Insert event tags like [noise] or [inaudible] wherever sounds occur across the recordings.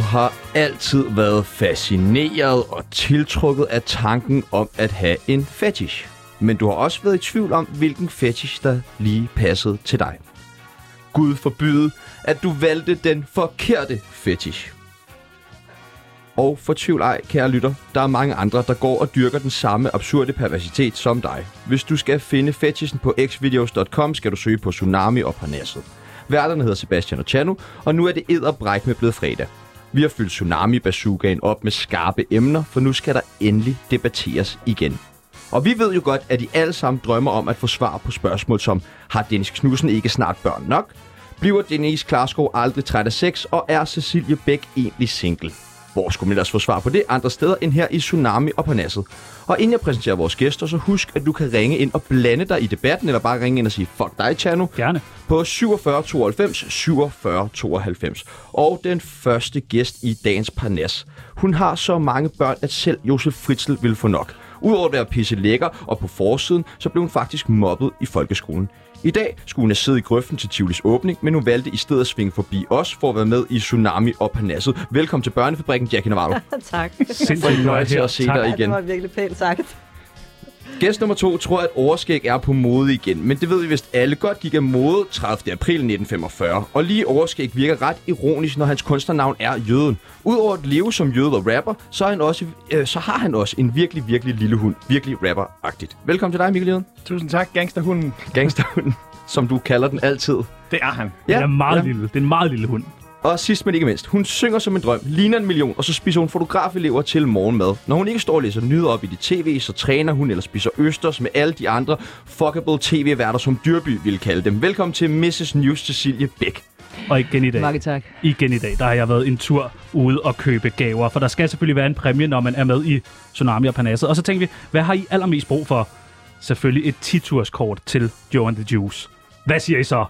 har altid været fascineret og tiltrukket af tanken om at have en fetish. Men du har også været i tvivl om, hvilken fetish, der lige passede til dig. Gud forbyde, at du valgte den forkerte fetish. Og fortvivl ej, kære lytter, der er mange andre, der går og dyrker den samme absurde perversitet som dig. Hvis du skal finde fetishen på xvideos.com, skal du søge på Tsunami og Parnasset. Værterne hedder Sebastian og Chano, og nu er det edderbræk med blevet fredag. Vi har fyldt tsunami bazookaen op med skarpe emner, for nu skal der endelig debatteres igen. Og vi ved jo godt, at I alle sammen drømmer om at få svar på spørgsmål som Har Dennis Knudsen ikke snart børn nok? Bliver Denise Klarskov aldrig træt af sex? Og er Cecilie Bæk egentlig single? Hvor skulle man ellers få svar på det andre steder end her i Tsunami og Parnasset? Og inden jeg præsenterer vores gæster, så husk, at du kan ringe ind og blande dig i debatten, eller bare ringe ind og sige, fuck dig, Chano, Gerne. på 47 92 47 92. Og den første gæst i dagens Parnas. Hun har så mange børn, at selv Josef Fritzl ville få nok. Udover at være pisse lækker og på forsiden, så blev hun faktisk mobbet i folkeskolen. I dag skulle hun have siddet i grøften til Tivolis åbning, men hun valgte i stedet at svinge forbi os for at være med i Tsunami og Parnasset. Velkommen til Børnefabrikken, Jackie Navarro. [laughs] tak. Sindssygt Fornøjelse at se Tak. dig Ja, det igen. var virkelig pænt sagt. Gæst nummer to tror, at overskæg er på mode igen, men det ved vi vist alle godt gik af mode 30. april 1945. Og lige overskæg virker ret ironisk, når hans kunstnernavn er Jøden. Udover at leve som jøde og rapper, så, er han også, øh, så har han også en virkelig, virkelig lille hund. Virkelig rapper-agtigt. Velkommen til dig, Mikkel Jøden. Tusind tak, gangsterhunden. Gangsterhunden, som du kalder den altid. Det er han. Den er meget ja. lille. Det er en meget lille hund. Og sidst men ikke mindst, hun synger som en drøm, ligner en million, og så spiser hun fotografelever til morgenmad. Når hun ikke står og læser nyheder op i det tv, så træner hun eller spiser østers med alle de andre fuckable tv-værter, som Dyrby ville kalde dem. Velkommen til Mrs. News Cecilie Bæk. Og igen i dag. Mange tak. Igen i dag, der har jeg været en tur ude og købe gaver, for der skal selvfølgelig være en præmie, når man er med i Tsunami og Parnasset. Og så tænkte vi, hvad har I allermest brug for? Selvfølgelig et 10-turskort til Joe and the Juice. Hvad siger I så?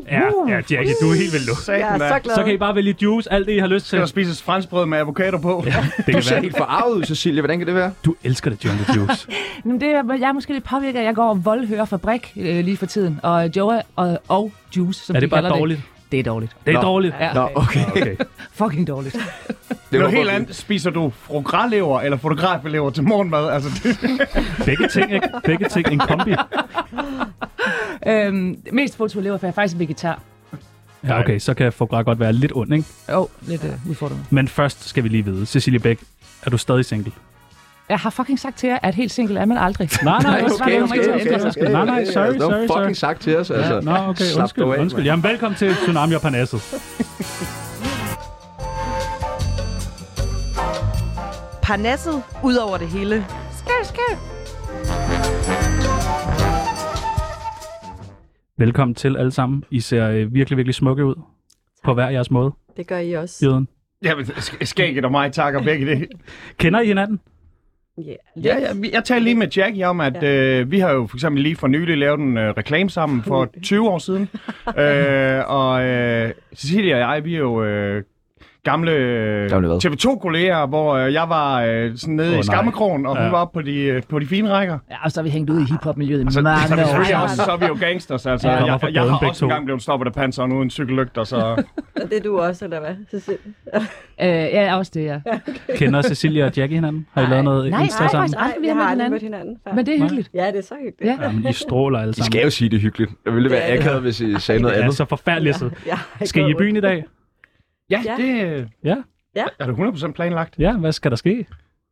Uh, ja, ja, Jackie, du er helt vildt nu. Satan, Jeg er mand. så glad. Så kan I bare vælge juice, alt det, I har lyst til. Skal der spises franskbrød med avocado på? Ja. Det Du kan ser være. helt forarvet ud, Cecilie. Hvordan kan det være? Du elsker det, Joe and the Juice. Jamen, det er, jeg er måske lidt påvirket, af, at jeg går og voldhører fabrik øh, lige for tiden. Og Joa og, og Juice, som Er de det bare kalder dårligt? det. Det er dårligt. Det er Nå. dårligt. Ja, Nå, okay. Okay. fucking [laughs] dårligt. Det er var helt godt. andet. Spiser du frogrelever eller fotografelever til morgenmad? Altså, det, Begge ting, ikke? Begge ting, en kombi. øhm, mest fotolever, for jeg er faktisk vegetar. Ja, okay, så kan Fogra godt være lidt ond, ikke? Jo, oh, lidt øh, udfordrende. Men først skal vi lige vide, Cecilie Bæk, er du stadig single? Jeg har fucking sagt til jer, at helt single er man aldrig. [laughs] Nej, nej, okay, okay, okay, okay, okay, okay, okay. Nej, nej, Altså, sorry, Det var sorry, sorry. fucking sagt til os, altså. Ja, nå, okay, slap undskyld, dog af, undskyld. mand. Jamen, velkommen til Tsunami og Parnasset. Parnasset ud over det hele. Skal, skal. Velkommen til alle sammen. I ser øh, virkelig, virkelig smukke ud. På hver jeres måde, Det gør I også. jøden. jamen, sk- skægget og mig takker begge det. Kender I hinanden? Yeah. [laughs] Ja, ja, vi- jeg talte lige med Jackie om, at øh, vi har jo for eksempel lige for nylig lavet en øh, reklame sammen for 20 år siden. øh, og øh, Cecilia og jeg, vi er jo... Øh, Gamle, øh, Gamle hvad? TV2-kolleger, hvor øh, jeg var øh, sådan nede Åh, oh, nej. i skammekrogen, og hun Ja. var oppe på de, øh, på de fine rækker. Ja, og så har vi hængt ud i hiphop-miljøet i Altså, Så, mange så, vi år. selvfølgelig også, så er vi jo gangsters. Altså, Ja. jeg, Kommer fra jeg, jeg gaden har begge også to. engang blevet stoppet af panseren uden cykellygter, så... Og det er du også, eller hvad? Cecilie? Øh, ja, også det, ja. Kender Cecilia og Jackie hinanden? Har I lavet noget nej, Insta nej, sammen? faktisk- aldrig, vi har jeg har mødt hinanden. aldrig mødt hinanden før. Men det er hyggeligt. Ja, det er så hyggeligt. Ja. Jamen, I stråler alle I sammen. skal jo sige det hyggeligt. Jeg ville være Ja, det er- akavet, hvis I sagde noget Det er andet. så forfærdeligt. [laughs] så. Ja, jeg Skal går I i ud. byen i dag? Ja, Ja. ja. det Ja. Ja. er det 100% planlagt. Ja, hvad skal der ske?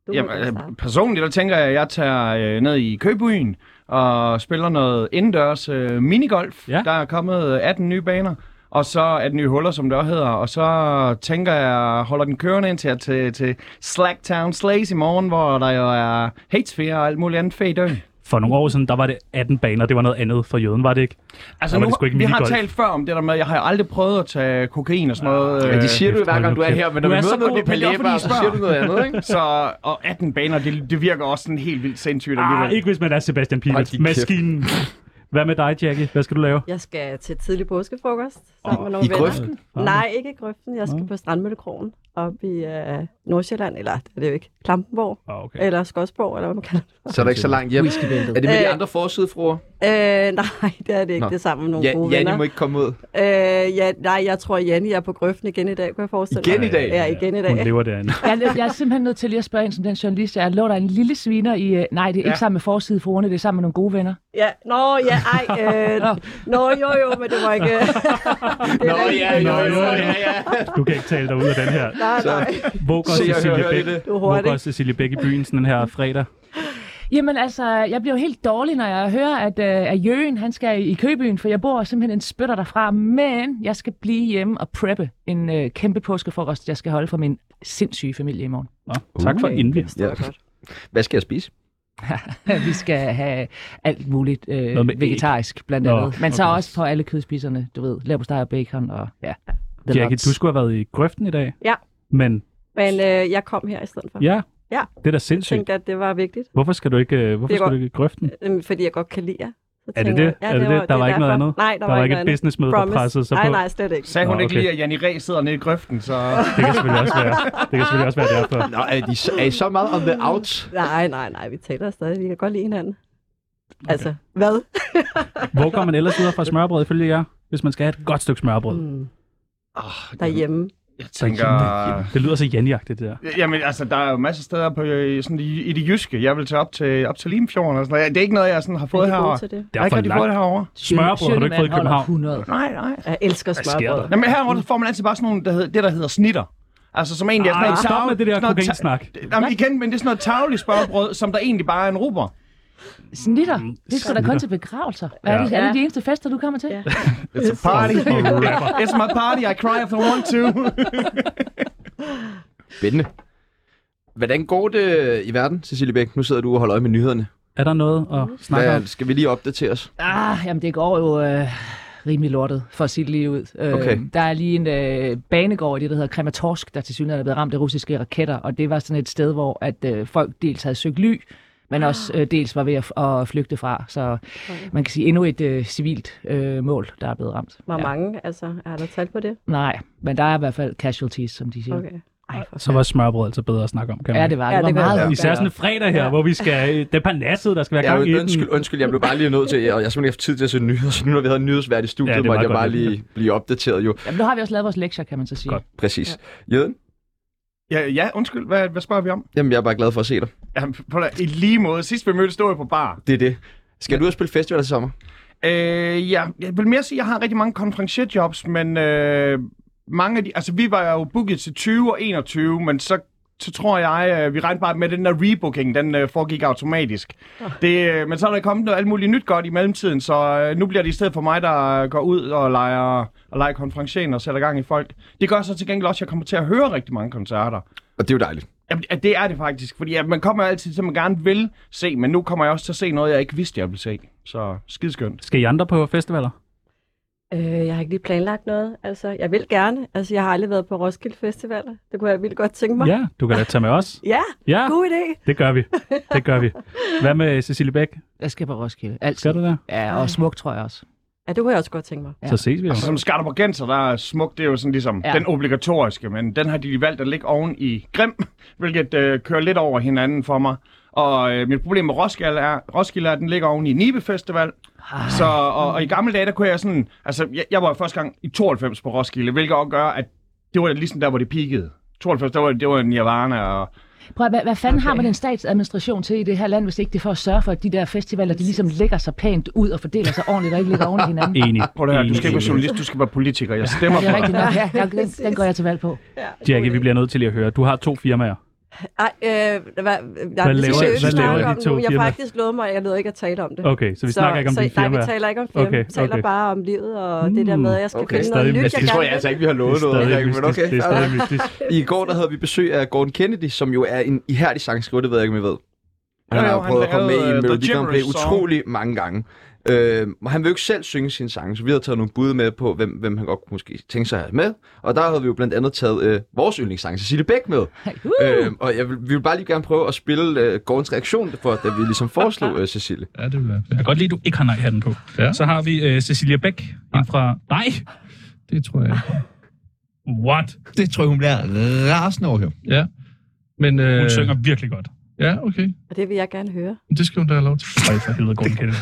Du må Jamen, godt øh, starte. personligt, der tænker jeg, at jeg tager øh, ned i Købyen og spiller noget indendørs øh, minigolf. Ja. Der er kommet øh, 18 nye baner, og så 18 nye huller, som det også hedder. Og så tænker jeg, holder den kørende ind til, til, til Slacktown Slays i morgen, hvor der jo er hatesphere og alt muligt andet fedt i døgn. For nogle år siden, der var det 18 baner. Det var noget andet for jøden, var det ikke? Altså, Der var nu, det sgu ikke vi har minigolf. talt før om det der med, jeg har jo aldrig prøvet at tage kokain og sådan noget. Ja, øh, de siger du jo hver gang, du er her, men når Du vi er så møder god, noget i men det er fordi, I Palæba, så siger spørger. du noget andet, ikke? Så, og 18 baner, det, det virker også sådan helt vildt sindssygt alligevel. Ah, ikke hvis man er Sebastian Hold din Pibels. kæft. Maskinen. Hvad med dig, Jackie? Hvad skal du lave? Jeg skal til tidlig påskefrokost sammen med nogle I venner. grøften? Nej, ikke i grøften. Jeg skal på Strandmøllekrogen op i øh, Nordsjælland, eller det er det jo ikke, Klampenborg, Ah, okay. eller Skodsborg, eller hvad man kalder det. Så er der ikke så langt hjem. Er det med de andre forsidefruer? Øh, [laughs] nej, det er det Nå. ikke. Nå. Det er sammen med nogle Ja, gode Janne venner. må ikke komme ud. Øh, ja, nej, jeg tror, Janni er på grøften igen i dag, kunne jeg forestille Igen mig. i dag? Ja, igen i Hun dag. lever derinde. Jeg, jeg er simpelthen nødt til lige at spørge en som den journalist, jeg er. Lå der en lille sviner i... øh, Nej, det er ikke Ja. sammen med forsiden for det er sammen med nogle gode venner. Ja, nå, ja, ej. Øh, nå, jo, jo, men det var ikke... [laughs] det er Nå, da ikke- ja, jo, jo, ja, ja. Du kan ikke tale dig ud af den her. Nej, Så- nej. Hvor går Se og Cecilie hør i Bæk? det. Du er Hvor går hurtig. Cecilie Bæk i byen sådan her fredag? Jamen altså, jeg bliver jo helt dårlig, når jeg hører, at, øh, at Jøen, han skal i, i Købyen, for jeg bor simpelthen en spytter derfra, men jeg skal blive hjemme og preppe en øh, kæmpe påskefrokost, jeg skal holde for min sindssyge familie i [laughs] morgen. Nå, tak for Uh. indvig. Det var godt. Hvad skal jeg spise? Vi skal have alt muligt øh, Noget med æg. vegetarisk, blandt Nå, andet. Men så okay. også på alle kødspiserne, du ved, leverpostej og bacon og ja. the Jackie, lots. du skulle have været i grøften i dag. Ja. Men Men øh, jeg kom her i stedet for. ja, Ja. det er da Jeg sindssygt. tænkte, at det var vigtigt, Hvorfor skal du ikke, øh, hvorfor Det er skal du ikke i grøften? øhm, fordi jeg godt kan lide jer. Så Er det tænker det? jeg- Er det det? Der var ikke noget derfor. andet? Nej, der, Der var ikke et noget andet. businessmøde, der Promise. pressede sig nej, på. Nej, slet ikke. Sagde hun Nå, ikke okay. lige, at Janni Ræ sidder nede i grøften, så... Det kan selvfølgelig også være, det kan selvfølgelig også være derfor. [laughs] Nå, er, de, er I så meget on the out? Nej, nej, nej, vi taler stadig. Vi kan godt lide hinanden. Altså, hvad? Hvor går man ellers ud fra smørbrød, ifølge jer? Hvis man skal have et godt stykke smørbrød. Mm, Oh, derhjemme. Jeg tænker... Det lyder så janjagtigt, det der. Jamen, altså, der er jo masser af steder på, øh, sådan i, i det jyske. Jeg vil tage op til, op til Limfjorden og sådan noget. Det er ikke noget, jeg sådan har Er fået de gode herovre. til det? Det er Jeg har ikke for rigtig fået det herovre. Smørrebrød har du ikke fået i Sjønemann København? holder 100. Nej, nej. Jeg elsker sker der? smørbrød. Jamen, herovre der får man altid bare sådan nogle, der hedder, det der hedder snitter. Altså, som egentlig er sådan Ej, noget Ah, stop tarv- med det der sådan noget ta- kokainsnak. Jamen, igen, men det er sådan noget tavligt smørbrød, som der egentlig bare er en ruber. Snitter. Det skal da kun til begravelser. Hvad er, det, Ja. er det de eneste fester, du kommer til? Ja. It's a party. oh, [laughs] It's my party, I cry if I want to. Spændende. Hvordan går det øh, i verden, Cecilie Bæk? Nu sidder du og holder øje med nyhederne. Er der noget at snakke om? Hvad, skal vi lige opdatere os? Ah, jamen det går jo øh, rimelig lortet, for at sige det lige ud. Øh, Okay. Der er lige en øh, banegård i det, der hedder Krematorsk, der til synligheden er blevet ramt af russiske raketter, og det var sådan et sted, hvor at øh, folk dels havde søgt ly, men også øh, dels var ved at, at flygte fra. Så man kan sige endnu et øh, civilt øh, mål, der er blevet ramt. Hvor mange, altså, er der tal på det? Nej, men der er i hvert fald casualties, som de siger. Okay. Okay. Ej, for Så var smørbrød altså bedre at snakke om, kan man? Ja, det var, Ja, det var det kan meget jeg ja. godt. Især sådan en fredag her, hvor vi skal... Det er panasset, der skal være Ja, gang i den. undskyld, undskyld, jeg blev bare lige nødt til, og jeg har simpelthen ikke haft tid til at se nyheder, så nu når vi havde en nyhedsvært i Ja, studiet, det ja, er måtte jeg meget bare godt, ja. lige blive opdateret jo. Jamen, nu har vi også lavet vores lektier, kan man så sige. Godt. Præcis. Ja. Jøden, [laughs] Ja, ja undskyld. Hvad, hvad spørger vi om? jamen jeg er bare glad for at se dig. Jamen, på da, I lige måde. Sidst vi mødtes, stod jeg på bar. Det er det. Skal du ud og spille festivaler til sommer? Øh, ja, jeg vil mere sige, at jeg har rigtig mange konferencierjobs, men øh, mange af de... Altså, vi var jo booket til 20 og 21, men så så tror jeg, øh, vi regnede bare med, at den der rebooking, den øh, foregik automatisk. Det, øh, men så er der kommet noget alt muligt nyt godt i mellemtiden, så øh, nu bliver det i stedet for mig, der øh, går ud og leger, og leger konferencien og sætter gang i folk. Det gør så til gengæld også, at jeg kommer til at høre rigtig mange koncerter. Og det er jo dejligt. Jamen, ja, det er det faktisk, fordi at man kommer jo altid til, man gerne vil se, men nu kommer jeg også til at se noget, jeg ikke vidste, jeg ville se. Så skideskønt. Skal I andre på festivaler? Øh, jeg har ikke lige planlagt noget. Altså, jeg vil gerne. Altså, jeg har aldrig været på Roskilde Festival. Det kunne jeg vildt godt tænke mig. Ja, du kan da tage med os. ja Ja, god idé. det gør vi. Det gør vi. Hvad med Cecilie Bæk? Jeg skal på Roskilde. Altid. Skal du der? Ja, og smuk, tror jeg også. Ja, det kunne jeg også godt tænke mig. Ja. Så ses vi jo. Altså, som Skarderborgenser, der er smukt, det er jo sådan ligesom Ja. ja. den obligatoriske, men den har de valgt at ligge oven i Grim, [laughs] hvilket øh, kører lidt over hinanden for mig. Og øh, mit problem med Roskilde er, Roskilde er, at den ligger oven i Nibe Festival. Så, og, og, i gamle dage, der kunne jeg sådan... Altså, jeg, jeg var første gang i 92 på Roskilde, hvilket også gør, at det var ligesom der, hvor det peakede. 92, der var, det var Nirvana og Prøv at, hvad, hvad fanden okay. har man en statsadministration til i det her land, hvis ikke det er for at sørge for, at de der festivaler, de ligesom lægger sig pænt ud og fordeler sig ordentligt og ikke ligger oven i [laughs] hinanden? Enig. Prøv at høre, du skal Enig, ikke være enig. journalist, du skal være politiker. Jeg stemmer Det er på rigtigt dig. nok. Ja, ja, den, den går jeg til valg på. Øh, Ja, Jackie, vi bliver nødt til lige at høre. Du har to firmaer. Ej, øh, hvad, hvad, Hvad laver- hvad laver de to Jeg firmaer? har faktisk lovet mig, at jeg lovet ikke at tale om det. Okay, så vi snakker ikke om så, dine Nej, vi firmaer. taler ikke om firma. Okay, Okay, vi taler okay. bare om livet og Mm, mm, det der med, at jeg skal okay. okay. finde Stadig noget nyt, mystisk. jeg Det tror gerne jeg altså vil. ikke, vi har Det er lovet noget. Henrik, men stadig mystisk. Det okay. er stadig mystisk. I går der havde vi besøg af Gordon Kennedy, som jo er en ihærdig sangskriver, det ved jeg ikke, om I ved. Han Jo, har jo, jo, han prøvet at komme med lavede, øh, i The Melodi Grand Prix Gibberish Song. utrolig mange gange. Øh, og han vil jo ikke selv synge sine sange, så vi har taget nogle bud med på, hvem, hvem han godt kunne måske tænke sig at have med. Og der havde vi jo blandt andet taget øh, vores yndlingssang, Cecilie Bæk, med. Øh, og jeg vil, vi vil bare lige gerne prøve at spille øh, Gordons reaktion for, da vi ligesom foreslog øh, Cecilie. Ja, det ville være Jeg kan fedt. godt lide, at du ikke har nej-hatten på. Ja. Så har vi øh, Cecilia Bæk ind fra... Nej! Det tror jeg ikke. What? Det tror jeg, hun bliver rasende over at høre. Ja. Men, øh, Hun øh. synger virkelig godt. Ja, okay. Og det vil jeg gerne høre. Men Det skal hun da have lov til. Ej, for helvede, Gordon Kennedy.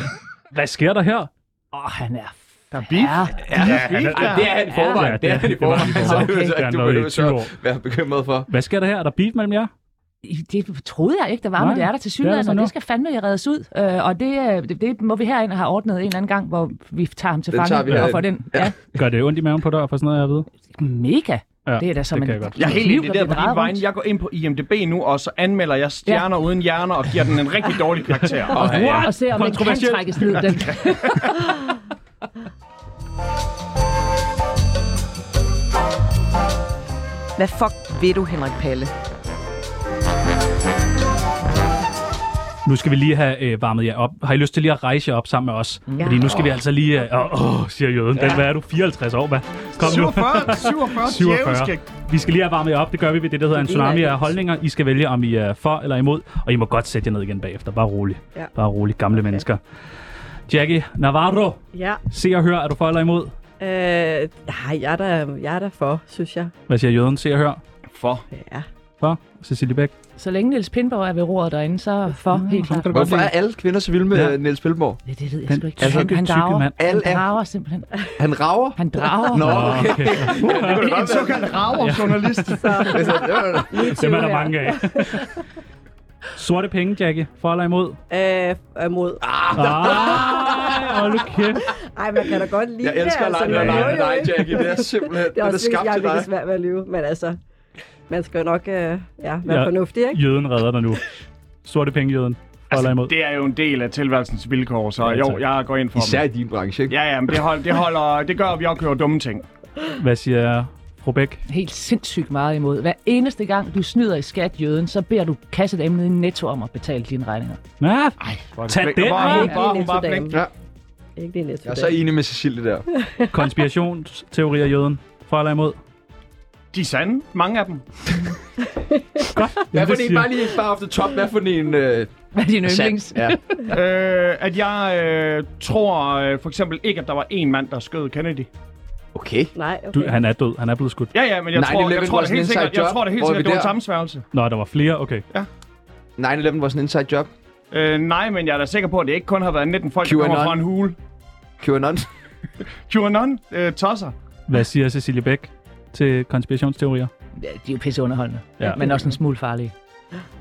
Hvad sker der her? Åh, oh, han er... Der er beef. Ja, Ej, det er han i forvejen. Ja, det er han i det var han forvejen. [laughs] i Så forvejen. det vil- så det vil du Okay. Han var i 20 år. så være bekymret for. Hvad sker der her? Er der beef mellem jer? Det troede jeg ikke, der var, Nej, men det er der til det er der synligheden, så og nu. det skal fandme reddes ud. Øh, og det, øh, det, det må vi herind have ordnet en eller anden gang, hvor vi tager ham til Den tager vi fange og herind. får den. Ja. Ja. Gør det ondt i maven på dig, for sådan noget, jeg ved? Mega. Ja, Det er da som det en kan jeg godt. Jeg er helt kniv, enig, det der bliver på din drejet vejen. rundt. Jeg går ind på IMDB nu, og så anmelder jeg stjerner uden hjerner og giver den en rigtig dårlig karakter. Og han er- Og se, om den kan Kontroversielt. trækkes ned. Den. Hvad fuck ved du, Henrik Palle? Nu skal vi lige have øh, varmet jer op. Har I lyst til lige at rejse jer op sammen med os? Ja. Fordi nu skal vi altså lige... øh, Åh, øh, oh, siger jøden. Den, hvad er du? 54 år, hvad? Kom nu. 47, 47, 47. 47. Vi skal lige have varmet jer op. Det gør vi ved det, der hedder en Det er tsunami af rigtigt. holdninger. I skal vælge, om I er for eller imod. Og I må godt sætte jer ned igen bagefter. Bare rolig. Ja. Bare rolig, gamle okay. mennesker. Jackie Navarro, Ja. se og hør. Er du for eller imod? Øh, ja, jeg er, der, jeg er der for, synes jeg. Hvad siger jøden? Se og hør. For. Ja. For Cecilie Bæk. Så længe Niels Pindborg er ved roret derinde, så for Mm. helt klart. Hvorfor er alle kvinder så vilde med Ja. ja. Niels Pellborg? Det, det ved jeg Den sgu ikke. tykke, han, han tykke drager. mand. Han Alle er- drager simpelthen. Han rager. Han drager. Nå, okay. Okay. En såkaldt rager-journalist. Altså, [laughs] det var- Dem er der mange af. Sorte penge, Jackie. For eller imod? Øh, øh, mod. Ah. Ej, Ah, hold nu kæft. Ej, man kan da godt lide Jeg elsker at det. lege med man dig, må med jo dig, ikke. Jackie. altså Det er simpelthen, Det er den er også skabt jeg er til dig. virkelig svært ved at lyve, men altså, man skal jo nok øh, ja, være Ja. ja. fornuftig, ikke? Jøden redder dig nu. Sorte penge, jøden. For Altså, eller imod? Det er jo en del af tilværelsens vilkår, så Ja, jo, tak. jeg går ind for Især dem. i din branche, ikke? Ja, ja, men det, hold, det, holder, det gør, at vi opkøber dumme ting. Hvad siger fru Bæk? Helt sindssygt meget imod. Hver eneste gang, du snyder i skat, jøden, så beder du kassedamen nede i netto om at betale dine regninger. Ja, Ah. Tag den, Hvor er hun mand. bare, hun bare Ikke flink. lige Ikke lige næste Jeg er så enig med Cecilie der. konspirationsteorier, jøden. For eller imod? De er sande, mange af dem. Hvad for det en, siger- bare lige bare off the top, hvad for en øh, Hvad er din sand? yndlings? Ja. Øh, at jeg øh, tror øh, for eksempel ikke, at der var en mand, der skød Kennedy. Okay. Nej, okay. Du, han er død. Han er blevet skudt. Ja, ja, men jeg Nej, tror, det er jeg tror det lidt helt en sikkert, inside jeg job. tror det helt Hvor er vi sikkert, det var en der? sammensværgelse. Nå, der var flere. Okay. 9-11 var sådan en inside job. Øh, nej, men jeg er da sikker på, at det ikke kun har været 19 folk, der QAnon. kommer fra en hule. QAnon. QAnon, øh, tosser. Hvad siger Cecilie Bæk til konspirationsteorier? Ja, de er jo pisse underholdende, Ja. ja. men også en smule farlige.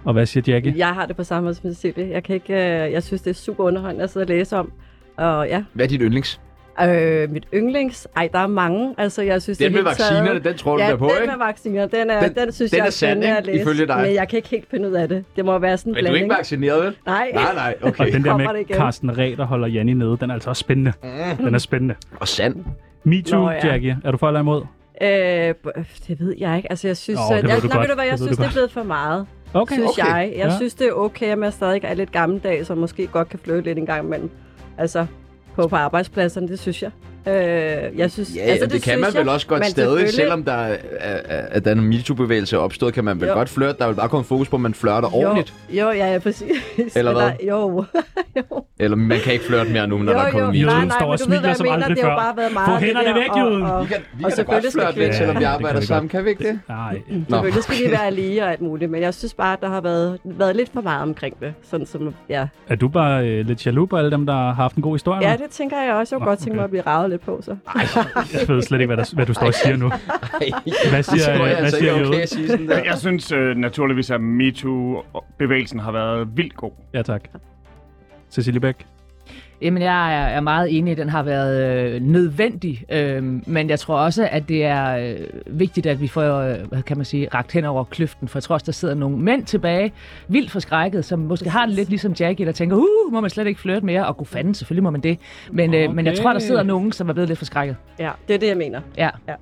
Og hvad siger Jackie? Jeg har det på samme måde som Cecilie. Jeg, kan ikke, øh, jeg synes, det er super underholdende at sidde og læse om. Og ja, Hvad er dit yndlings? øh, mit yndlings... Ej, der er mange. Altså, jeg synes, Den det med hele taget- vaccinerne, den tror du ja, der på, den ikke? med vacciner, den, er, Den- den, den synes den jeg er sand, spændende ikke? at læse. Ifølge dig. Men jeg kan ikke helt finde ud af det. Det må være sådan en Men du er blanding. ikke vaccineret, vel? Nej, Nej, nej, Og okay. den der Kommer det med igen? Carsten Ræ, der holder Janni nede, den er altså også spændende. Den er spændende. Og sand. Me too, Nå, ja. Jackie. Er du for eller imod? Øh, b- det ved jeg ikke. Altså, jeg synes... Nå, øh, det ved jeg, du nej, godt. ved du hvad, Det jeg ved synes, du det er godt. blevet for meget. Okay. synes okay. jeg. Jeg Ja. ja. synes, det er okay, at man stadig er lidt gammeldags, og måske godt kan flytte lidt en gang imellem. Altså, på, på arbejdspladserne, det synes jeg. Øh, jeg synes, Ja, altså, altså, det, kan synes man jeg, vel også godt men stadig, selvfølgelig- selvom der er, er, er den MeToo-bevægelse er opstået, kan man vel Jo. godt flirte. Der vil bare komme fokus på, at man flørter jo, ordentligt. Jo, ja, ja, præcis. [laughs] Eller hvad? [laughs] jo. Eller man kan ikke flirte mere nu, når jo, der er kommet jo. Jøden MeToo. Nej, nej, står og men du ved, smiler hvad jeg som mener. aldrig Det er jo før. bare været meget... Få det hænderne der, væk, og- Jøden. og- Vi kan, vi kan Og da selvfølgelig godt skal flirte, væk, kvinder- selvom vi Ja, det arbejder kan vi sammen. Kan vi ikke det? Nej. Nå. Selvfølgelig skal de være lige og alt muligt, men jeg synes bare, at der har været, været lidt for meget omkring det. Sådan som, ja. Er du bare øh, lidt jaloux på alle dem, der har haft en god historie? ja, det... det tænker jeg også. Jeg kunne godt tænke mig at blive ravet lidt på, så. Ah. Jeg ved slet ikke, hvad, der, hvad du står og siger [laughs] nu. Hvad Det siger, tror jeg øh, hvad altså ikke siger er okay jøden? at sige sådan [laughs] der. Jeg synes øh, naturligvis, at MeToo-bevægelsen har været vildt god. Ja, tak. Cecilie Bæk. Jamen, jeg er, er meget enig, den har været øh, nødvendig, øh, men jeg tror også, at det er øh, vigtigt, at vi får, øh, hvad kan man sige, ragt hen over kløften, for jeg tror også, der sidder nogle mænd tilbage, vildt forskrækket, som måske har det lidt ligesom Jackie, der tænker, uh, må man slet ikke flirte mere, og god fanden, selvfølgelig må man det, men, okay. øh, men jeg tror, der sidder nogen, som er blevet lidt forskrækket. Ja, det er det, jeg mener. Ja. Det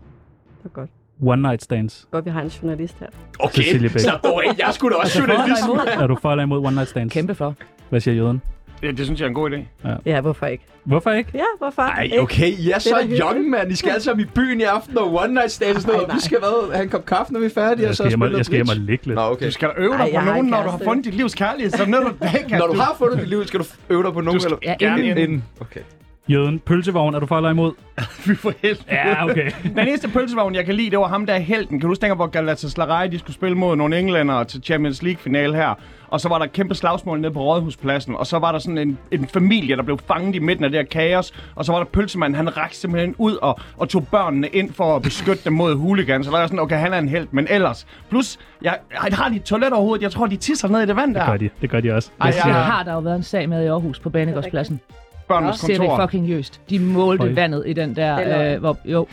er godt. One night stands. Godt, vi har en journalist her. Okay, Cecilie Bæk. slap dog af. Jeg er sgu da også journalist. Er du for eller imod one night stands? Kæmpe for. Hvad siger jøden? Det, det synes jeg er en god idé. Ja, hvorfor ikke? Hvorfor ikke? Ja, hvorfor Ej, ikke? okay, I er så da hyggeligt. young, mand. I skal alle sammen i byen i aften og one night stand og sådan noget. Nej, Vi skal hvad, have en kop kaffe, når vi er færdige, Jeg og så skal hjem og, spille jeg skal hjem og bridge. ligge lidt. Nå, Du okay. skal da øve dig Ej, på jeg har nogen, en når du har kæreste. fundet dit livs kærlighed, så er du nødt til at Når du har fundet dit liv, skal du øve dig på nogen, skal eller? Ja, gerne inden- inden. Okay. Jøden, pølsevogn, er du for eller imod? Fy for helvede. Ja, okay. Den eneste pølsevogn, jeg kan lide, det var ham, der er helten. Kan du huske, dengang, hvor Galatasaray de skulle spille mod nogle englænder til Champions League-finale her? Og så var der et kæmpe slagsmål nede på Rådhuspladsen, og så var der sådan en, en familie, der blev fanget i midten af det her kaos. Og så var der pølsemanden, han rakte simpelthen ud og, og tog børnene ind for at beskytte dem mod hooligans. Så der er jeg sådan, okay, han er en helt, men ellers... Plus, jeg, jeg har de et toilet overhovedet, jeg tror, de tisser ned i det vand der. Det gør de, det gør de også. Ej, Jeg ja. siger- Det Altså, har der jo været en sag med i Aarhus på Banegårdspladsen. Børnenes Ser det kontor. fucking jøst. De målte Hold. vandet i den der... Det er løgn. Øh, hvor, jo,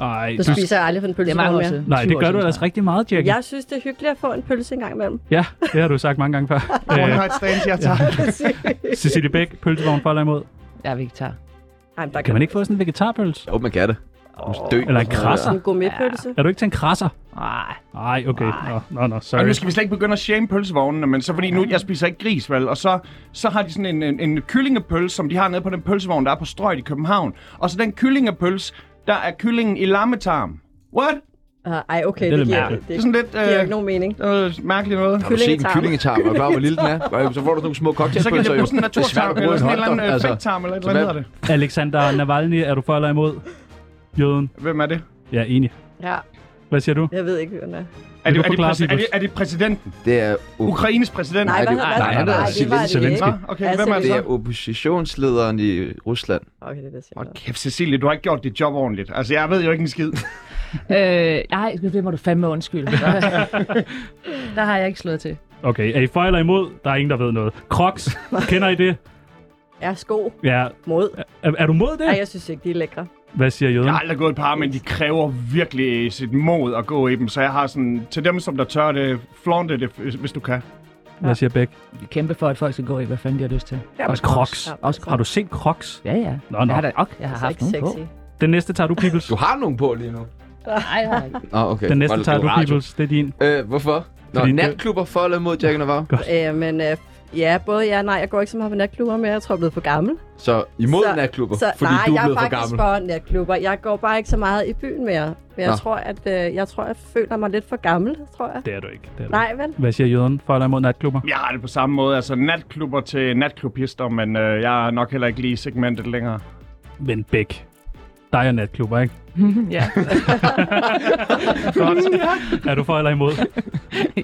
Ej, Så spiser jeg aldrig for en det er pølsevogn mange år mere. siden. Nej, 20 det år gør du siden, ellers rigtig meget, Jack. Jeg synes, det er hyggeligt at få en pølse en gang imellem. Ja, det har du sagt mange gange før. One Øh, night stands, jeg tager. Cecilie Bæk, pølsevogn for eller imod? tror jeg. Jeg er vegetar. Ej, men der Kan man ikke få sådan en vegetarpølse? Jo, man kan det. Oh, dø. Eller en krasser? en gourmetpølse? Er du ikke til en krasser? Nej, Nej, okay. Nå, nå, nå Og sorry. nu skal vi slet ikke begynde at shame pølsevognene, men så fordi nu, jeg spiser ikke gris, vel? Og så, så har de sådan en, en, en kyllingepøls, som de har nede på den pølsevogn, der er på Strøget i København. Og så den kyllingepøls, der er kyllingen i lammetarm. What? Det Ah, Ej, okay, Det er det, lidt giver, det, mærkeligt. er det, sådan lidt giver ikke øh, nogen mening. noget mærkeligt noget. Har du set en Kyllingetarm. kyllingetarm, og bare hvor lille den er? Og Så får du nogle små Så kan det cocktailpølser, blive sådan en Det er svært naturtarm, at bruge eller sådan en eller hotdog, øh, anden altså, fægtarm, eller et eller andet hedder det. Alexander Navalny, er du for eller imod? Jøden? Hvem er det? Ja, enig. Ja, Hvad siger du? jeg ved ikke, hvem den er. Er Vil det, du er, det, forklare, præs- er, det, Sibus? er det præsidenten? Det er, op- Ukraines præsident? Nej, Nej, hvad det- hedder nej, han det? Uh. er det var det Zelensky. ikke. Nå, okay, Altså, hvem er det det så? er oppositionslederen i Rusland. Okay, det er det, jeg siger. Åh, kæft, Cecilie, du har ikke gjort dit job ordentligt. Altså, jeg ved jo ikke en skid. Øh, nej, det må du fandme undskylde. [laughs] der har jeg ikke slået til. Okay, er I for eller imod? Der er ingen, der ved noget. Crocs, kender I det? Er sko Ja. mod? Er, er du mod Nej, det? jeg synes ikke, de er lækre. Hvad siger jøden? Jeg har aldrig gået et par, men de kræver virkelig sit mod at gå i dem. Så jeg har sådan, til dem, som der tør det, flaunte det, hvis- hvis du kan. Hvad siger Bæk? Vi kæmper for, at folk skal gå i, hvad fanden de har lyst til. Også Crocs. Ja, Også Har du set Crocs? Ja, ja. Nå, nå. Jeg har da ok, jeg har altså haft ikke nogen på. sexy. Den næste tager du, Peoples. Du har nogen på lige nu. Nej, jeg har ikke. Nå, okay. Den Var næste det- tager det du, var radio. Peoples. Det er din. Øh, hvorfor? Nå, Fordi det- natklubber for eller mod Jack Navarro? Øh, men øh, ja, både ja og nej. Jeg går ikke så meget på natklubber mere. Jeg tror, jeg er blevet for gammel. Så imod Så- natklubber, fordi nej, du er jeg blevet for faktisk gammel. for natklubber. Jeg går bare ikke så meget i byen mere. Men jeg Nå. tror, at øh, jeg tror, jeg føler mig lidt for gammel, tror jeg. Det er du ikke. Det er du. Nej, vel? ikke. Hvad siger jøden? For eller imod natklubber? Jeg har det på samme måde, altså natklubber til natklubhister, men øh, jeg er nok heller ikke lige i segmentet længere. Men Bæk. Dig og natklubber, ikke? [laughs] ja, Godt. er du for eller imod?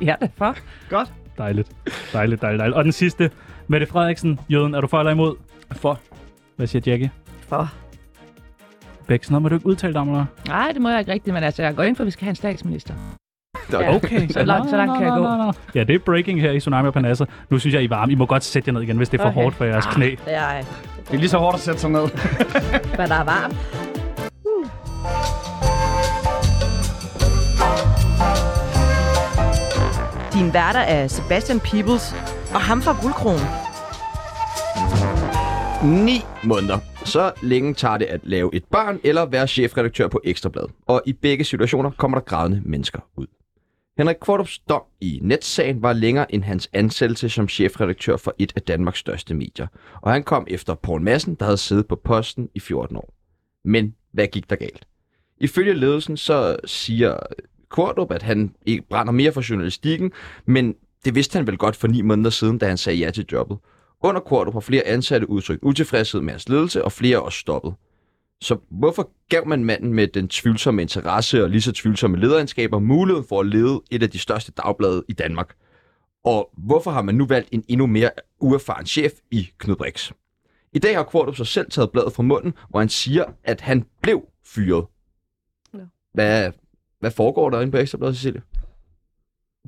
ja, for. Godt. Dejligt. Dejligt, dejligt, dejligt. Og den sidste. Mette Frederiksen, jøden, er du for eller imod? For. Hvad siger Jackie? For. Bæk, sådan noget må du ikke udtale dig om, eller? hvad? Nej, det må jeg ikke rigtigt, men altså, jeg går ind for, at vi skal have en statsminister. Ja. Okay, Så langt- så langt kan jeg gå. Ja, det er breaking her i Tsunami og Panassa. Nu synes jeg, I er varme. I må godt sætte jer ned igen, hvis det er for Okay. hårdt for jeres knæ. Jeg, Det er lige så hårdt at sætte sig ned. hvad der er varmt. Din værter er Sebastian Peebles og ham fra Guldkronen. 9 måneder. Så længe tager det at lave et barn eller være chefredaktør på Ekstrablad. Og i begge situationer kommer der grædende mennesker ud. Henrik Kvartrups dom i netsagen var længere end hans ansættelse som chefredaktør for et af Danmarks største medier. Og han kom efter Poul Madsen, der havde siddet på posten i 14 år. Men hvad gik der galt? Ifølge ledelsen så siger Kvartrup, at han ikke brænder mere for journalistikken, men det vidste han vel godt for 9 måneder siden, da han sagde ja til jobbet. Under Kvartrup har flere ansatte udtrykt utilfredshed med hans ledelse, og flere er også stoppet. Så hvorfor gav man manden med den tvivlsomme interesse og lige så tvivlsomme lederegenskaber muligheden for at lede et af de største dagblade i Danmark? Og hvorfor har man nu valgt en endnu mere uerfaren chef i Knud Brix? I dag har Kvartrup så selv taget bladet fra munden, hvor han siger, at han blev fyret. Nå. Hvad, hvad foregår der inde på Ekstrabladet, Cecilie?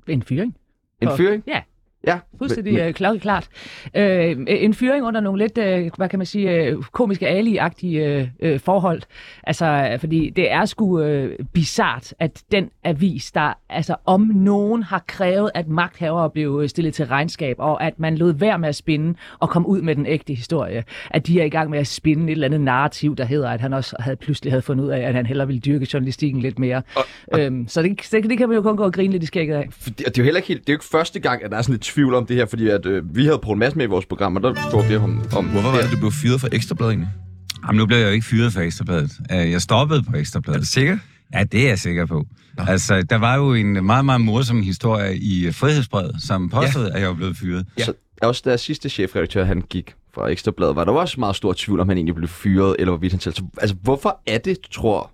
En fyring. En For- fyring? ja. Ja. Fuldstændig øh, klart, klart. Øh, en fyring under nogle lidt, øh, hvad kan man sige, øh, komiske ali-agtige øh, øh, forhold. Altså, fordi det er sgu øh, bizart, at den avis, der altså om nogen har krævet, at magthavere blev øh, stillet til regnskab, og at man lod være med at spinde og komme ud med den ægte historie, at de er i gang med at spinde et eller andet narrativ, der hedder, at han også havde pludselig havde fundet ud af, at han hellere ville dyrke journalistikken lidt mere. Øhm, så det, det, det kan man jo kun gå og grine lidt i skægget af. Fordi, og det er jo heller ikke helt, det er jo ikke første gang, at der er sådan lidt tvivl om det her, fordi at, øh, vi havde Poul Mads med i vores program, og der spurgte vi om... om Hvorfor var ja. det, du blev fyret fra Ekstrabladet egentlig? Jamen, nu blev jeg jo ikke fyret fra Ekstrabladet. Øh, Jeg stoppede på Er Ekstrabladet. du sikker? Ja, det er jeg sikker på. Altså, der var jo en meget, meget morsom historie i Frihedsbrevet, som påstod, ja. at jeg var blevet fyret. Så også deres sidste chefredaktør, han gik fra Ekstrabladet, var der jo også meget stor tvivl, om han egentlig blev fyret, eller hvorvidt han selv... Så, altså, hvorfor er det, tror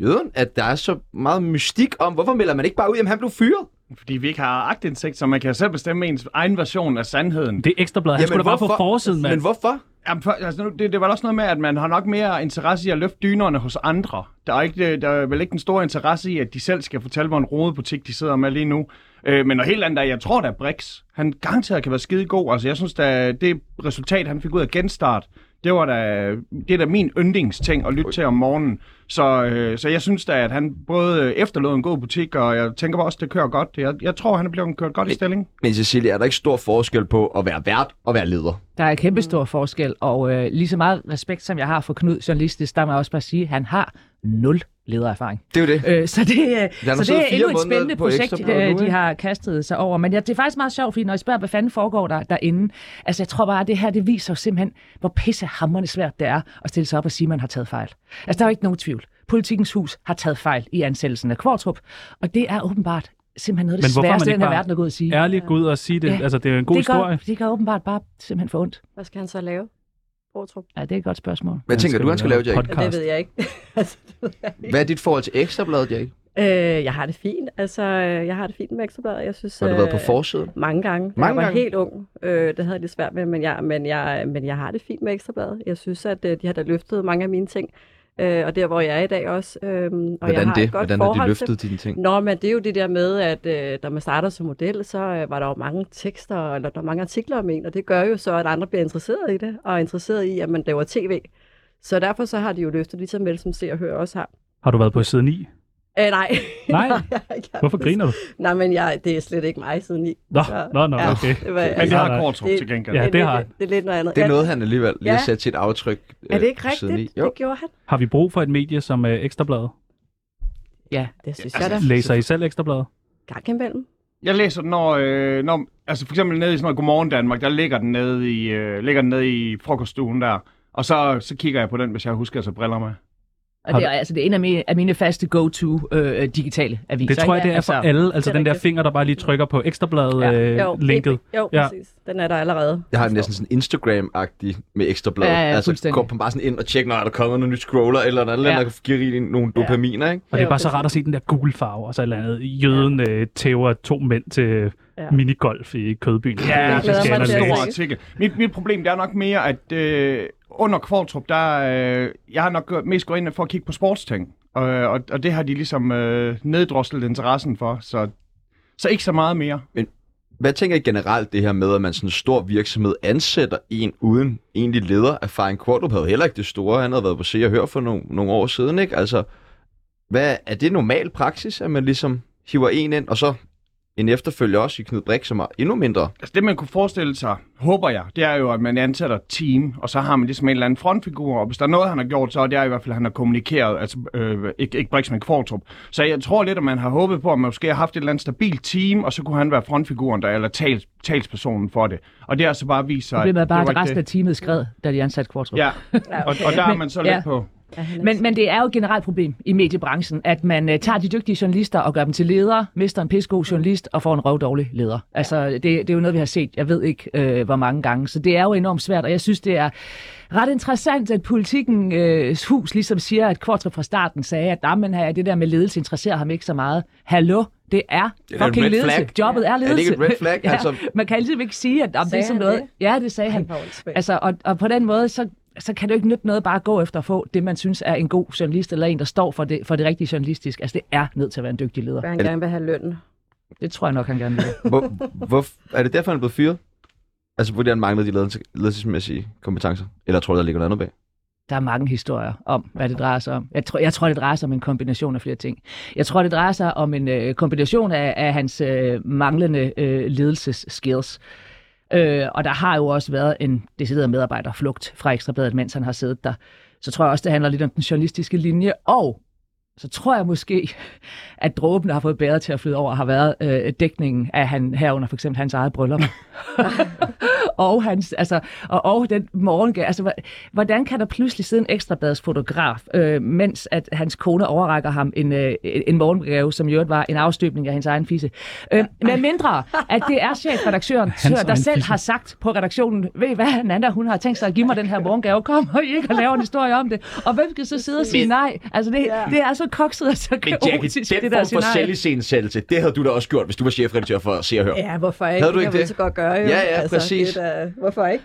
jøden, at der er så meget mystik om, hvorfor melder man ikke bare ud, at han blev fyret? [laughs] Fordi vi ikke har agtindsigt, så man kan selv bestemme ens egen version af sandheden. Det er ekstrabladet. Han skulle da bare på forsiden, mand. Men hvorfor? Jamen, for, altså, nu- det, det var også noget med, at man har nok mere interesse i at løfte dynerne hos andre. Der er, ikke, der er vel ikke den store interesse i, at de selv skal fortælle, hvor en rodebutik de sidder med lige nu. Øh, men noget helt andet er, jeg tror da Brix, han garanteret kan være skide god. Altså, jeg synes da, det resultat, han fik ud af genstart, det var da, det er da min yndlingsting at lytte til om morgenen. Så, øh, så jeg synes da, at han både efterlod en god butik, og jeg tænker også, det kører godt. Jeg, jeg tror, han er blevet kørt godt i stilling. Men Cecilie, er der ikke stor forskel på at være vært og være leder? Der er kæmpe stor forskel, og øh, lige så meget respekt, som jeg har for Knud journalistisk, der må jeg også bare sige, at han har nul ledererfaring. Det er jo det. Øh, så det, øh, Der er nu så det siddet er fire endnu et måneder spændende på projekt, Ekstra Bladet øh, nu, de ikke? har kastet sig over. Men ja, det er faktisk meget sjovt, fordi når jeg spørger, hvad fanden foregår der derinde, altså jeg tror bare, at det her det viser jo simpelthen, hvor pissehammerende svært det er at stille sig op og sige, at man har taget fejl. Altså der er jo ikke nogen tvivl. Politikens hus har taget fejl i ansættelsen af Kvartrup, og det er åbenbart simpelthen noget af det Men hvorfor er man sværeste i ikke den her bare verden at gå ud og sige. Ærligt gå ud og sige det. Ja. Altså, det er jo en god det, gør, historie. det gør åbenbart bare simpelthen for ondt. Hvad skal han så lave? Bortrup? Ja, det er et godt spørgsmål. Hvad tænker du, han skal lave, Jack? Ja, det Podcast. ved jeg ikke. [laughs] altså, det ved jeg, ikke. Hvad er dit forhold til Ekstrabladet, Jack? Øh, jeg har det fint. Altså, øh, jeg har det fint med Ekstrabladet. Jeg synes, Har du været på øh, forsiden? Mange gange. Da Mange jeg var gange? helt ung. Øh, det havde jeg lidt svært med, men jeg, men jeg, men jeg har det fint med Ekstrabladet. Jeg synes, at øh, de har da løftet mange af mine ting. Øh, og der, hvor jeg er i dag også. Øh, og jeg Hvordan har det? Et godt Hvordan har de forhold til- løftet dine ting? Nå, men det er jo det der med, at øh, da man starter som model, så øh, var der jo mange tekster, eller der var mange artikler om en, og det gør jo så, at andre bliver interesseret i det, og er interesseret i, at man laver tv. Så derfor så har de jo løftet lige så vel, som se og høre også har. Har du været på siden 9? Æh, [laughs] nej. Nej? jeg har ikke haft Hvorfor det. griner du? Nej, men jeg, det er slet ikke mig siden i. Nå, Så- nå, nå, ja, okay. Det, var, Men det nej, har nej. Kortrup til gengæld. Ja, er det lidt- har- Det er lidt noget andet. Det Ja, nåede han alligevel lige at Ja. sætte sit aftryk øh, Er det ikke på siden rigtigt? i. Jo. Det gjorde han. Har vi brug for et medie som øh, Ekstrabladet? Ja, Det synes Altså, jeg da. Læser I selv Ekstrabladet? Gang imellem. Jeg læser den, når, øh, når altså for eksempel nede i sådan noget Godmorgen Danmark, der ligger den nede i, øh, ligger den nede i frokoststuen der. Og så, så kigger jeg på den, hvis jeg husker at tage briller med. Og det er, altså, det er en af mine, af mine faste go-to øh, digitale aviser. Det tror jeg, ikke? det er for altså, alle. Altså det er den der rigtigt. finger, der bare lige trykker på øh, Jo, Ja. det- Ekstrabladet-linket. Jo, Ja. ja. præcis. Den er der allerede. Jeg har det næsten sådan Instagram-agtig med Ekstrabladet. Ja, ja, altså, fuldstændig. går man bare sådan ind og tjekker, når er der kommet noget nyt scroller, eller noget andet, Ja. ja. der giver rigtig nogle dopaminer, ikke? Og det er Jo, bare så præcis. rart at se den der gule farve og så et eller andet. Jøden øh, tæver to mænd til øh, Ja. minigolf i Kødbyen. Ja, Jeg det glæder er mig en til at stor se. artikel. Mit, mit problem det er nok mere, at øh, under Kvartrup, der øh, jeg har nok gået- mest gået ind for at kigge på sportsting. Og, og, og det har de ligesom øh, neddroslet interessen for, så, så ikke så meget mere. Hvad tænker I generelt det her med, at man sådan en stor virksomhed ansætter en uden egentlig leder? Erfaring Kvartrup havde heller ikke det store. Han havde været på Se og Hør for nogle, nogle år siden, ikke? Altså, hvad, er det normal praksis, at man ligesom hiver en ind, og så en efterfølger også i Knud Brix, som er endnu mindre? Altså det, man kunne forestille sig, håber jeg, det er jo, at man ansætter et team, og så har man ligesom en eller anden frontfigur, og hvis der er noget, han har gjort, så er det i hvert fald, at han har kommunikeret, altså øh, ikke, ikke Brix, men Kvartrup. Så jeg tror lidt, at man har håbet på, at man måske har haft et eller andet stabilt team, og så kunne han være frontfiguren der, eller tals, talspersonen for det. Og det har så bare vist sig, Problemet er bare, det var at ikke resten af det. teamet skred, da de ansatte Kvartrup. Ja, og, og der er man så Men- lidt på. Ja, han er Men, men det er jo et generelt problem i mediebranchen, at man øh, tager de dygtige journalister og gør dem til ledere, mister en pissegod Mm. journalist og får en røvdårlig leder. Altså, det, det er jo noget, vi har set, jeg ved ikke, øh, hvor mange gange. Så det er jo enormt svært, og jeg synes, det er ret interessant, at politikens øh, hus ligesom siger, at Kvartrup fra starten sagde, at "Nå, men her, det der med ledelse interesserer ham ikke så meget. Hallo, det er er da et fucking red ledelse. flag. Jobbet er det ledelse. ikke et red flag? [laughs] ja, Altså- Man kan ligesom ikke sige, at om det er Sagde sådan han noget. det? Ja, det sagde han. Han var åndssvag. Altså, og, og på den måde, så, så kan det jo ikke nytte noget bare at gå efter at få det, man synes er en god journalist, eller en, der står for det, for det rigtige journalistisk. Altså, det er nødt til at være en dygtig leder. Hvad han gerne vil have lønnen. Det tror jeg nok, han gerne vil. Hvor, hvor, er det derfor, han er blevet fyret? Altså, fordi han manglede de ledelses- ledelsesmæssige kompetencer? Eller tror du, der ligger noget andet bag? Der er mange historier om, hvad det drejer sig om. Jeg tror, jeg tror det drejer sig om en kombination af flere ting. Jeg tror, det drejer sig om en øh, kombination af, af hans øh, manglende øh, ledelsesskills. Øh, og der har jo også været en decideret medarbejderflugt fra Ekstrabladet, mens han har siddet der. Så tror jeg også, det handler lidt om den journalistiske linje og så tror jeg måske, at dråben der har fået bæret til at flyde over, har været øh, dækningen af han, herunder for eksempel hans [laughs] eget bryllup. og, hans, altså, og, og den morgen, altså, hva- hvordan kan der pludselig sidde en ekstrabladets fotograf, øh, mens at hans kone overrækker ham en, øh, en morgengave, som i øvrigt var en afstøbning af hendes egen fisse. Øh, med mindre, at det er chefredaktøren, Hans der egen selv fisse. har sagt på redaktionen, ved I hvad, Nanda, hun har tænkt sig at give mig den her morgengave, kom og I ikke og laver en historie om det. Og hvem skal så sidde og sige Men- nej? Altså, det, det er så kokset og så Men Jackie, kaotisk, den det der form for scenarie. selvisensættelse, det havde du da også gjort, hvis du var chefredaktør for Se og Hør. Ja, hvorfor ikke? Havde du ikke kan man det? så godt gøre, jo. Altså, Ja, ja, præcis. Det er da, hvorfor ikke?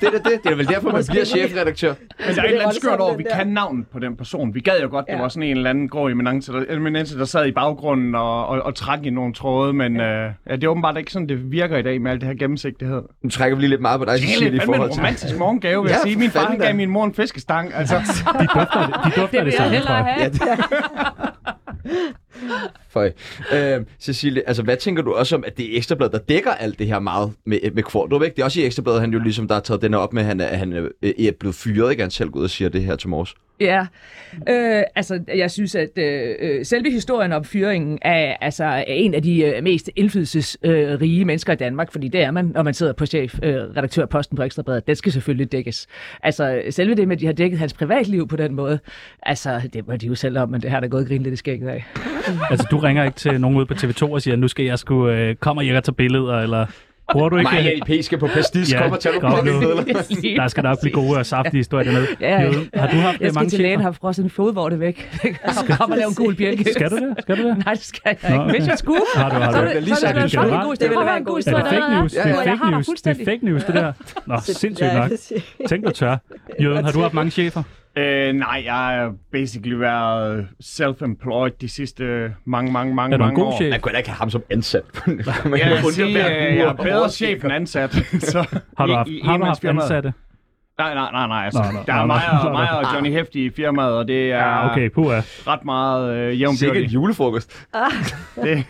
Det er da det. Det er vel derfor, man bliver chefredaktør. Men der er Altså, et det eller var andet det skørt sådan, over, den vi der. kan navnet på den person. Vi gad jo godt, ja. det Ja. var sådan en eller anden grå eminence, der, eminence, der sad i baggrunden og, og, og trak i nogle tråde, men ja. Øh, ja, det er åbenbart ikke sådan, det virker i dag med alt det her gennemsigtighed. Nu trækker vi lige lidt meget på dig, Det er Cecilie, i lidt fandme en forhold til... romantisk morgengave, vil jeg Ja, sige. for Min far fanden han da. gav min mor en fiskestang. Altså, De dufter det, de dufter det, det samme, tror jeg. have. Føj. Øhm, Cecilie, altså hvad tænker du også om, at det er Ekstrabladet, der dækker alt det her meget med, med Kvartrup, ikke? Det er også i Ekstrabladet, han jo ligesom, der har taget den her op med, at han er, han er, øh, er blevet fyret, ikke? Han selv går ud og siger det her til morges. Ja, øh, altså jeg synes, at øh, øh, selve historien om fyringen er, altså, er en af de øh, mest indflydelsesrige øh, rige mennesker i Danmark, fordi det er man, når man sidder på chefredaktørposten øh, på Ekstrabladet. Den skal selvfølgelig dækkes. Altså selve det med, at de har dækket hans privatliv på den måde, altså det må de jo selv om, men det har der gået grin lidt i skægget af. Altså, du ringer ikke til nogen ude på TV2 og siger, nu skal jeg sgu øh, komme og jeg tage billeder, eller... Bruger du ikke? Maja i Peske på pastis, Ja, kom og tag kom nogle nu. billeder. Der skal nok blive gode og saftige historier dernede. Ja, ja. Jøden, Har du haft øh, Jeg skal mange til lægen og chefer? har frosset en [laughs] fodvorte væk. Kom og lave en gul bjælke. Skal du det? Skal du det? Nej, det skal jeg Nå, ikke. okay. Hvis jeg skulle, Har du, har så du? er det, så er det, det det, en god generelt? historie. Det vil være en god Er historie. det fake news? Det Ja, er ja, jeg har fake dig news. Det er fuldstændig. fake news, det der. Nå, Ah, sindssygt Ja, nok. præcis. Tænk, du tør. Jøden, har du haft mange chefer? [laughs] øh, nej, jeg har basically været self-employed de sidste mange, mange, mange, Er du en mange god år. chef? Man kunne da ikke have ham som ansat. [laughs] Man kan Ja, jeg, vil undre sige, hver øh, uge jeg er om bedre året. chef end [laughs] ansat. Så, Har du i- haft, i har du haft enmandsfirmaet. ansatte? Nej, nej, nej, nej. Altså, Nå, nå, der nå, nå, er mig nå, og, nå. mig og Johnny Hefti i firmaet, og det er Ja, okay, puha. ret meget øh, jævnbyrdigt. Sikkert julefrokost. Det-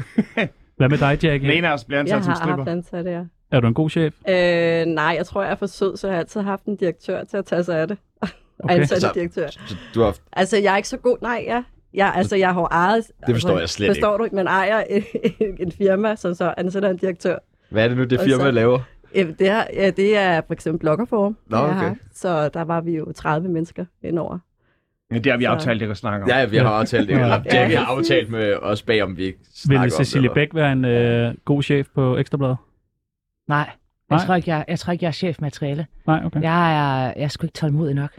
Hvad med dig, Jackie? Den ene af os bliver Jeg ansat som har haft stripper. ansatte, ja. Er du en god chef? Øh, nej, jeg tror, jeg er for sød, så jeg har altid haft en direktør til at tage sig af det. [laughs] Okay. Okay. Ansat Så- en direktør. Så du har haft Altså, jeg er ikke så god. Nej, ja. Jeg, altså, jeg har jo ejet... Det forstår jeg slet ikke. forstår Forstår du? Man ejer en, [laughs] en firma, som så ansætter en direktør. Hvad er det nu, det Og firma så- laver? Jamen, det, er, ja, det er for eksempel Bloggerforum. Nå, jeg har okay. haft. Så der var vi jo 30 mennesker indover. Ja, det har vi Så- aftalt ikke at snakke om. Ja, ja, vi har aftalt det. Ja. Eller Jackie har præcis. aftalt med os bag, om vi ikke snakker om Vil det. Cecilie eller- Bæk være en øh, god chef på Ekstrabladet? Nej, jeg tror ikke, jeg, jeg, tror ikke, jeg er chefmateriale. Nej, okay. Jeg er, jeg er sgu ikke tålmodig nok.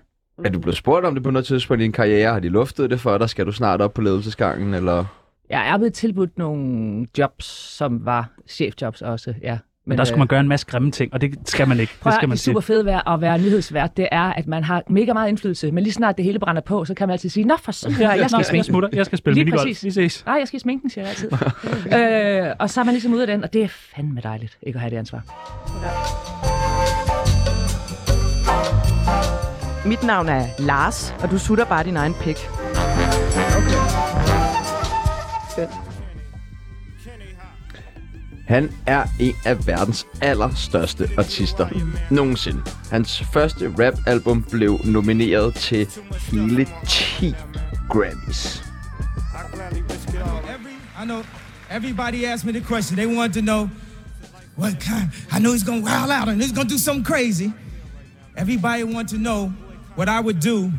Er du blevet spurgt om det på noget tidspunkt i din karriere? Har de luftet det for dig? Skal du snart op på ledelsesgangen? Eller? Jeg er blevet tilbudt nogle jobs, som var chefjobs også, ja. Men, øh, Men der skulle man gøre en masse grimme ting, og det skal man ikke. Prøv Det at, skal høre, man det super sige. fede ved at være nyhedsvært, det er, at man har mega meget indflydelse, men lige snart det hele brænder på, så kan man altid sige, nå for søren, jeg Nå, skal i jeg sminken. smutter. Jeg skal spille Lige minigolf. præcis. Vi ses. Nej, jeg skal i sminken, siger jeg altid. [laughs] øh, og så er man ligesom ude af den, og det er fandme dejligt, ikke at have det ansvar. Mit navn er Lars, og du sutter bare din egen pik. Han er en af verdens allerstørste artister nogensinde. Hans første rap-album blev nomineret til hele 10 Grammys. [laughs] Every, I know everybody asked me the question. They wanted to know what kind. I know he's gonna wild out and he's gonna do something crazy. Everybody wanted to know what I would do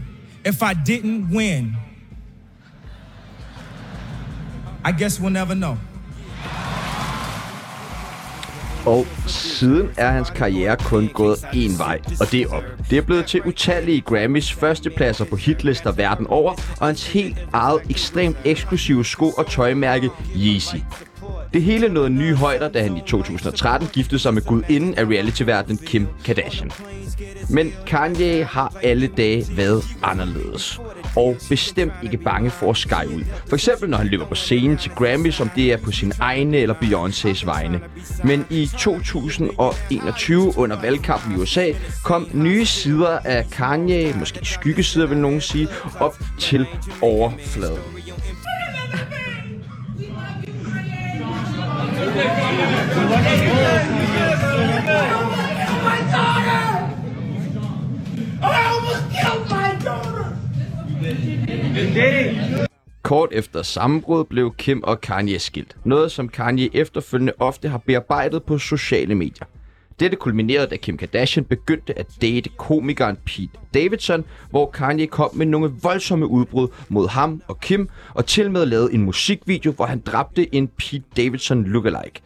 if I didn't win. I guess we'll never know. Og siden er hans karriere kun gået én vej, og det er op. Det er blevet til utallige Grammys førstepladser på hitlister verden over, og hans helt eget ekstremt eksklusive sko- og tøjmærke Yeezy. Det hele nåede nye højder, da han i 2013 giftede sig med gudinden af realityverdenen Kim Kardashian. Men Kanye har alle dage været anderledes. Og bestemt ikke bange for at sky ud. For eksempel når han løber på scenen til Grammy, som det er på sin egne eller Beyoncé's vegne. Men i 2021 under valgkampen i USA kom nye sider af Kanye, måske skyggesider vil nogen sige, op til overfladen. Kort efter sammenbrud blev Kim og Kanye skilt. Noget, som Kanye efterfølgende ofte har bearbejdet på sociale medier. Dette kulminerede, da Kim Kardashian begyndte at date komikeren Pete Davidson, hvor Kanye kom med nogle voldsomme udbrud mod ham og Kim, og til med lavede en musikvideo, hvor han dræbte en Pete Davidson lookalike.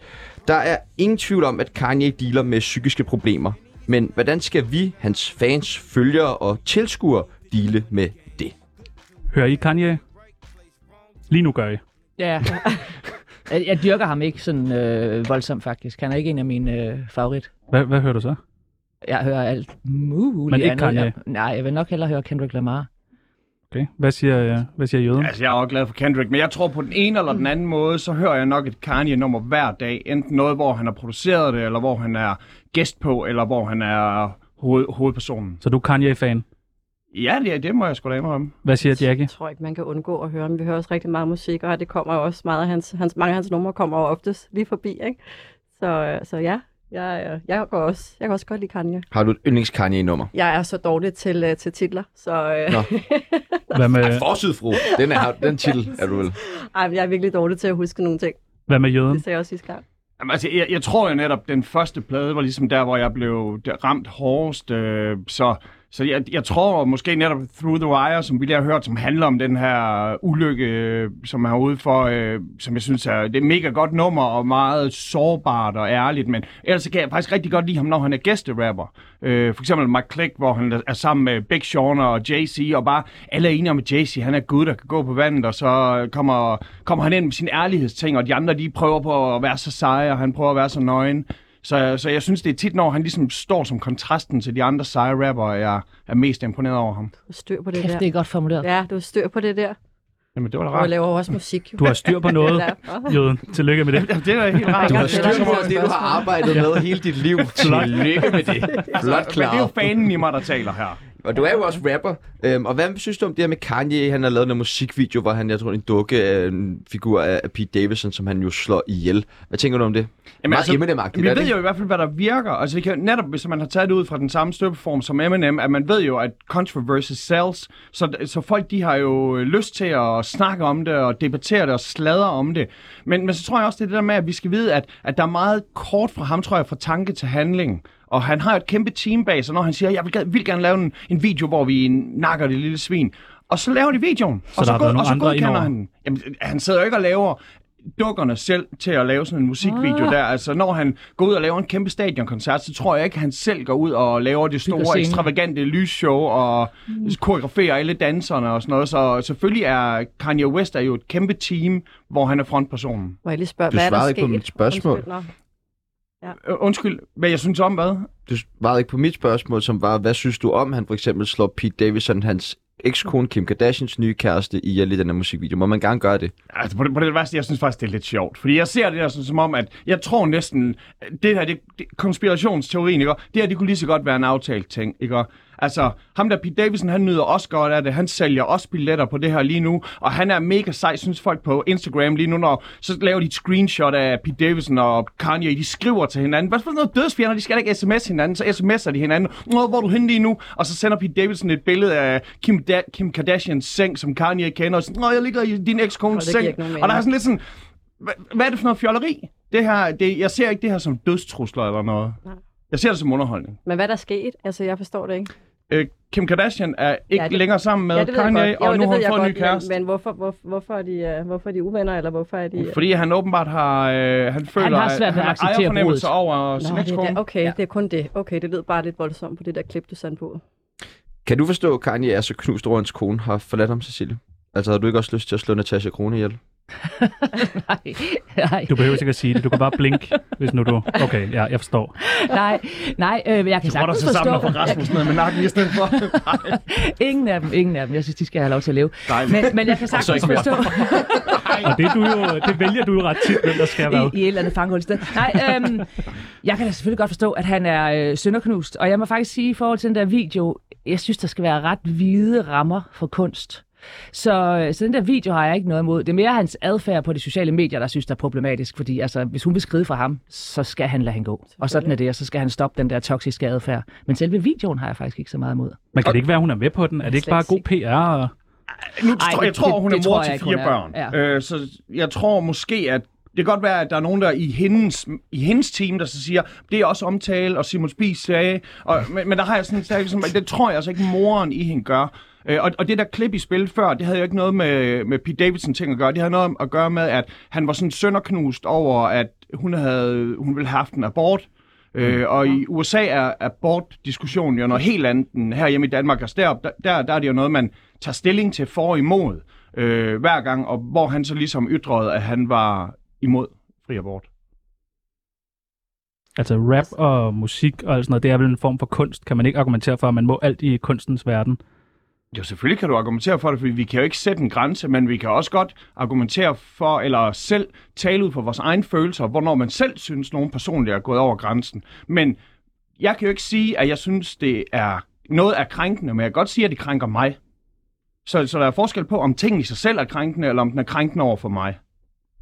Der er ingen tvivl om, at Kanye dealer med psykiske problemer. Men hvordan skal vi, hans fans, følgere og tilskuere, deale med det? Hører I Kanye? Lige nu gør I. Ja. [laughs] Jeg, jeg dyrker ham ikke sådan øh, voldsomt, faktisk. Han er ikke en af mine øh, favorit. Hvad, hvad hører du så? Jeg hører alt muligt Men ikke andet. Kanye? Jeg, nej, jeg vil nok hellere høre Kendrick Lamar. Okay. Hvad siger, øh, hvad siger jøden? Altså, jeg er også glad for Kendrick, men jeg tror på den ene Mm. eller den anden måde, så hører jeg nok et Kanye-nummer hver dag. Enten noget, hvor han har produceret det, eller hvor han er gæst på, eller hvor han er hoved, hovedpersonen. Så du er Kanye-fan. Ja, det, det må jeg sgu da indrømme. Hvad siger Jackie? Jeg tror ikke, man kan undgå at høre ham. Vi hører også rigtig meget musik, og det kommer jo også meget af hans, hans, mange af hans numre kommer jo oftest lige forbi, ikke? Så, øh, så ja, jeg, øh, jeg, går også, jeg kan også godt lide Kanye. Har du et yndlings Kanye-nummer? Jeg er så dårlig til, øh, til titler, så øh, Nå. Hvad Ej, med, forsidfru. Den, er, den titel er du vel. ej, men jeg er virkelig dårlig til at huske nogle ting. hvad med jøden? Det sagde jeg også sidste gang. Jamen, altså, jeg, jeg tror jo netop, den første plade var ligesom der, hvor jeg blev der- ramt hårdest. Øh, så så jeg, jeg tror måske netop Through the Wire, som vi lige har hørt, som handler om den her ulykke, øh, som han er ude for, øh, som jeg synes er det er et mega godt nummer og meget sårbart og ærligt. Men ellers så kan jeg faktisk rigtig godt lide ham, når han er gæsterapper. Øh, for eksempel Mark Click, hvor han er sammen med Big Sean og Jay-Z, og bare alle er enige om, at Jay-Z han er Gud, der kan gå på vandet, og så kommer, kommer han ind med sin ærlighedsting, og de andre de prøver på at være så seje, og han prøver at være så nøgen. Så, så jeg synes, det er tit, når han ligesom står som kontrasten til de andre seje rapper, jeg er mest imponeret over ham. Du har styr på det Kæft, det der. er godt formuleret. Ja, du har styr på det der. Jamen, det var da Og jeg rart. laver jo også musik, jo. Du har styr [laughs] på Det noget, er derfor. jøden. Tillykke med det. Jamen, det er ligesom- da helt rart. Du har Det er der styr på nogle [laughs] det, du har arbejdet med hele dit [laughs] liv. Tillykke med det. Flot Men det er jo klaret. fanen i mig, der taler her. Og du er jo også rapper. Øhm, og hvad synes du om det her med Kanye? Han har lavet en musikvideo, hvor han, jeg tror, en dukke af en figur af af Pete Davidson, som han jo slår ihjel. Hvad tænker du om det? Jamen, Meget altså, Eminem-agtigt, vi er det ved ikke? jo i hvert fald, hvad der virker. Altså, det kan, netop hvis man har taget det ud fra den samme støbeform som Eminem, at man ved jo, at controversy sells, så, så folk de har jo øh, lyst til at snakke om det, og debattere det, og sladre om det. Men, men så tror jeg også, det er det der med, at vi skal vide, at, at der er meget kort fra ham, tror jeg, fra tanke til handling. Og han har jo et kæmpe team bag sig, når han siger, jeg vil, vil gerne lave en, en video, hvor vi nakker det lille svin. Og så laver de videoen, Så der og så, har været og nogle så andre godkender indover? han den. Jamen, han sidder jo ikke og laver dukkerne selv til at lave sådan en musikvideo ah. der. Altså, når han går ud og laver en kæmpe stadionkoncert, så tror jeg ikke, han selv går ud og laver det Bygger store, scenen. ekstravagante lysshow og mm. koreograferer alle danserne og sådan noget. Så selvfølgelig er Kanye West er jo et kæmpe team, hvor han er frontpersonen. Må jeg lige spørge, Du hvad er der svarede ikke på sket? mit spørgsmål. Undskyld, nå. Øh, Undskyld, hvad jeg synes om hvad? Du svarede ikke på mit spørgsmål, som var, hvad synes du om, han for eksempel slår Pete Davidson, hans ekskone Kim Kardashians nye kæreste, ihjel i den her musikvideo? Må man gerne gøre det? Altså, på det, på det værste, jeg synes faktisk, det er lidt sjovt. Fordi jeg ser det der sådan, som om, at jeg tror næsten, det her, det, det konspirationsteorien, ikke? Det her, det kunne lige så godt være en aftalt ting, ikke? Altså, ham der Pete Davidson, han nyder også godt af det. Han sælger også billetter på det her lige nu. Og han er mega sej, synes folk på Instagram lige nu, når så laver de et screenshot af Pete Davidson og Kanye, de skriver til hinanden. Hvad for noget dødsfjender, de skal da ikke sms hinanden, så sms'er de hinanden. Nå, hvor er du henne lige nu? Og så sender Pete Davidson et billede af Kim, da- Kim Kardashians seng, som Kanye kender. Og sådan, Nå, jeg ligger i din ekskones Og det giver seng. ikke nogen Og der er mening. sådan lidt sådan, hvad, hvad er det for noget fjolleri? Det her, det, jeg ser ikke det her som dødstrusler eller noget. Nej. Jeg ser det som underholdning. Men hvad er der sket? Altså, jeg forstår det ikke. Øh, Kim Kardashian er ikke ja, Ja, det, det- længere sammen med ja, ja, det ved jeg Kanye, godt. Jo, og det nu har ved hun jeg fået en ny godt, men- kæreste. Men, hvorfor, hvor, hvorfor, er de, uh, hvorfor er de uvenner, eller hvorfor er de... Uh... Fordi han åbenbart har, øh, han føler, har svært ved at at han har acceptere ejerfornemmelse bruddet. over sin det er ekskone. det. Okay, ja. det er kun det. Okay, det lød bare lidt voldsomt på det der klip, du sendte på. Kan du forstå, at Kanye er så knust over, at hans kone har forladt ham, Cecilie? Altså, har du ikke også lyst til at slå Natasha Krone ihjel? Nej, nej. [laughs] Du behøver ikke at sige det. Du kan bare blinke, hvis nu du... Okay, ja, jeg forstår. Nej, nej, øh, men jeg kan Så rotter sagtens sig sammen og forstå. får Rasmus ned med nakken i stedet for. [laughs] Nej, [laughs] Ingen af dem, ingen af dem. Jeg synes, de skal have lov til at leve. Dejligt. Men, men jeg kan sagtens ikke mere. forstå. Og det, er du jo, det vælger du jo ret tit, hvem der skal være. i, i et eller andet fanghul sted. Nej, øhm, jeg kan da selvfølgelig godt forstå, at han er øh, sønderknust. Og jeg må faktisk sige, i forhold til den der video, jeg synes, der skal være ret hvide rammer for kunst. Så, øh, så den der video har jeg ikke noget imod. Det er mere hans adfærd på de sociale medier, der synes, der er problematisk. Fordi altså, hvis hun vil skride fra ham, så skal han lade hende gå. Og sådan er det, og så skal han stoppe den der toksiske adfærd. Men selve videoen har jeg faktisk ikke så meget imod. Man kan det ikke være, hun er med på den? Er det ikke bare god PR? Og... Nu, Ej, jeg det- tror, det- hun er det mor tror jeg til ikke, fire hun er. børn. Ja. Øh, så jeg tror måske, at det kan godt være, at der er nogen, der i hendes, i hendes team, der så siger, det er også omtale, og Simon Spies sagde, og, men, men der har jeg sådan, der, ligesom, det tror jeg altså ikke, moren i hende gør. Øh, og, og det der klip, I spillede før, det havde jo ikke noget med, med Pete Davidson ting at gøre. Det havde noget at gøre med, at han var sådan sønderknust over, at hun, havde, hun ville have haft en abort. Øh, og i USA er abortdiskussionen jo noget helt andet end herhjemme i Danmark. Altså derop, der, der, der er det jo noget, man tager stilling til for og imod øh, hver gang, og hvor han så ligesom ytrede, at han var imod fri abort. Altså rap og musik og alt sådan noget, det er vel en form for kunst. Kan man ikke argumentere for, at man må alt i kunstens verden? Jo, selvfølgelig kan du argumentere for det, fordi vi kan jo ikke sætte en grænse, men vi kan også godt argumentere for, eller selv tale ud for vores egne følelser, hvornår man selv synes, nogen personligt er gået over grænsen. Men jeg kan jo ikke sige, at jeg synes, det er noget er krænkende, men jeg kan godt sige, at det krænker mig. Så, så der er forskel på, om tingene i sig selv er krænkende, eller om den er krænkende over for mig.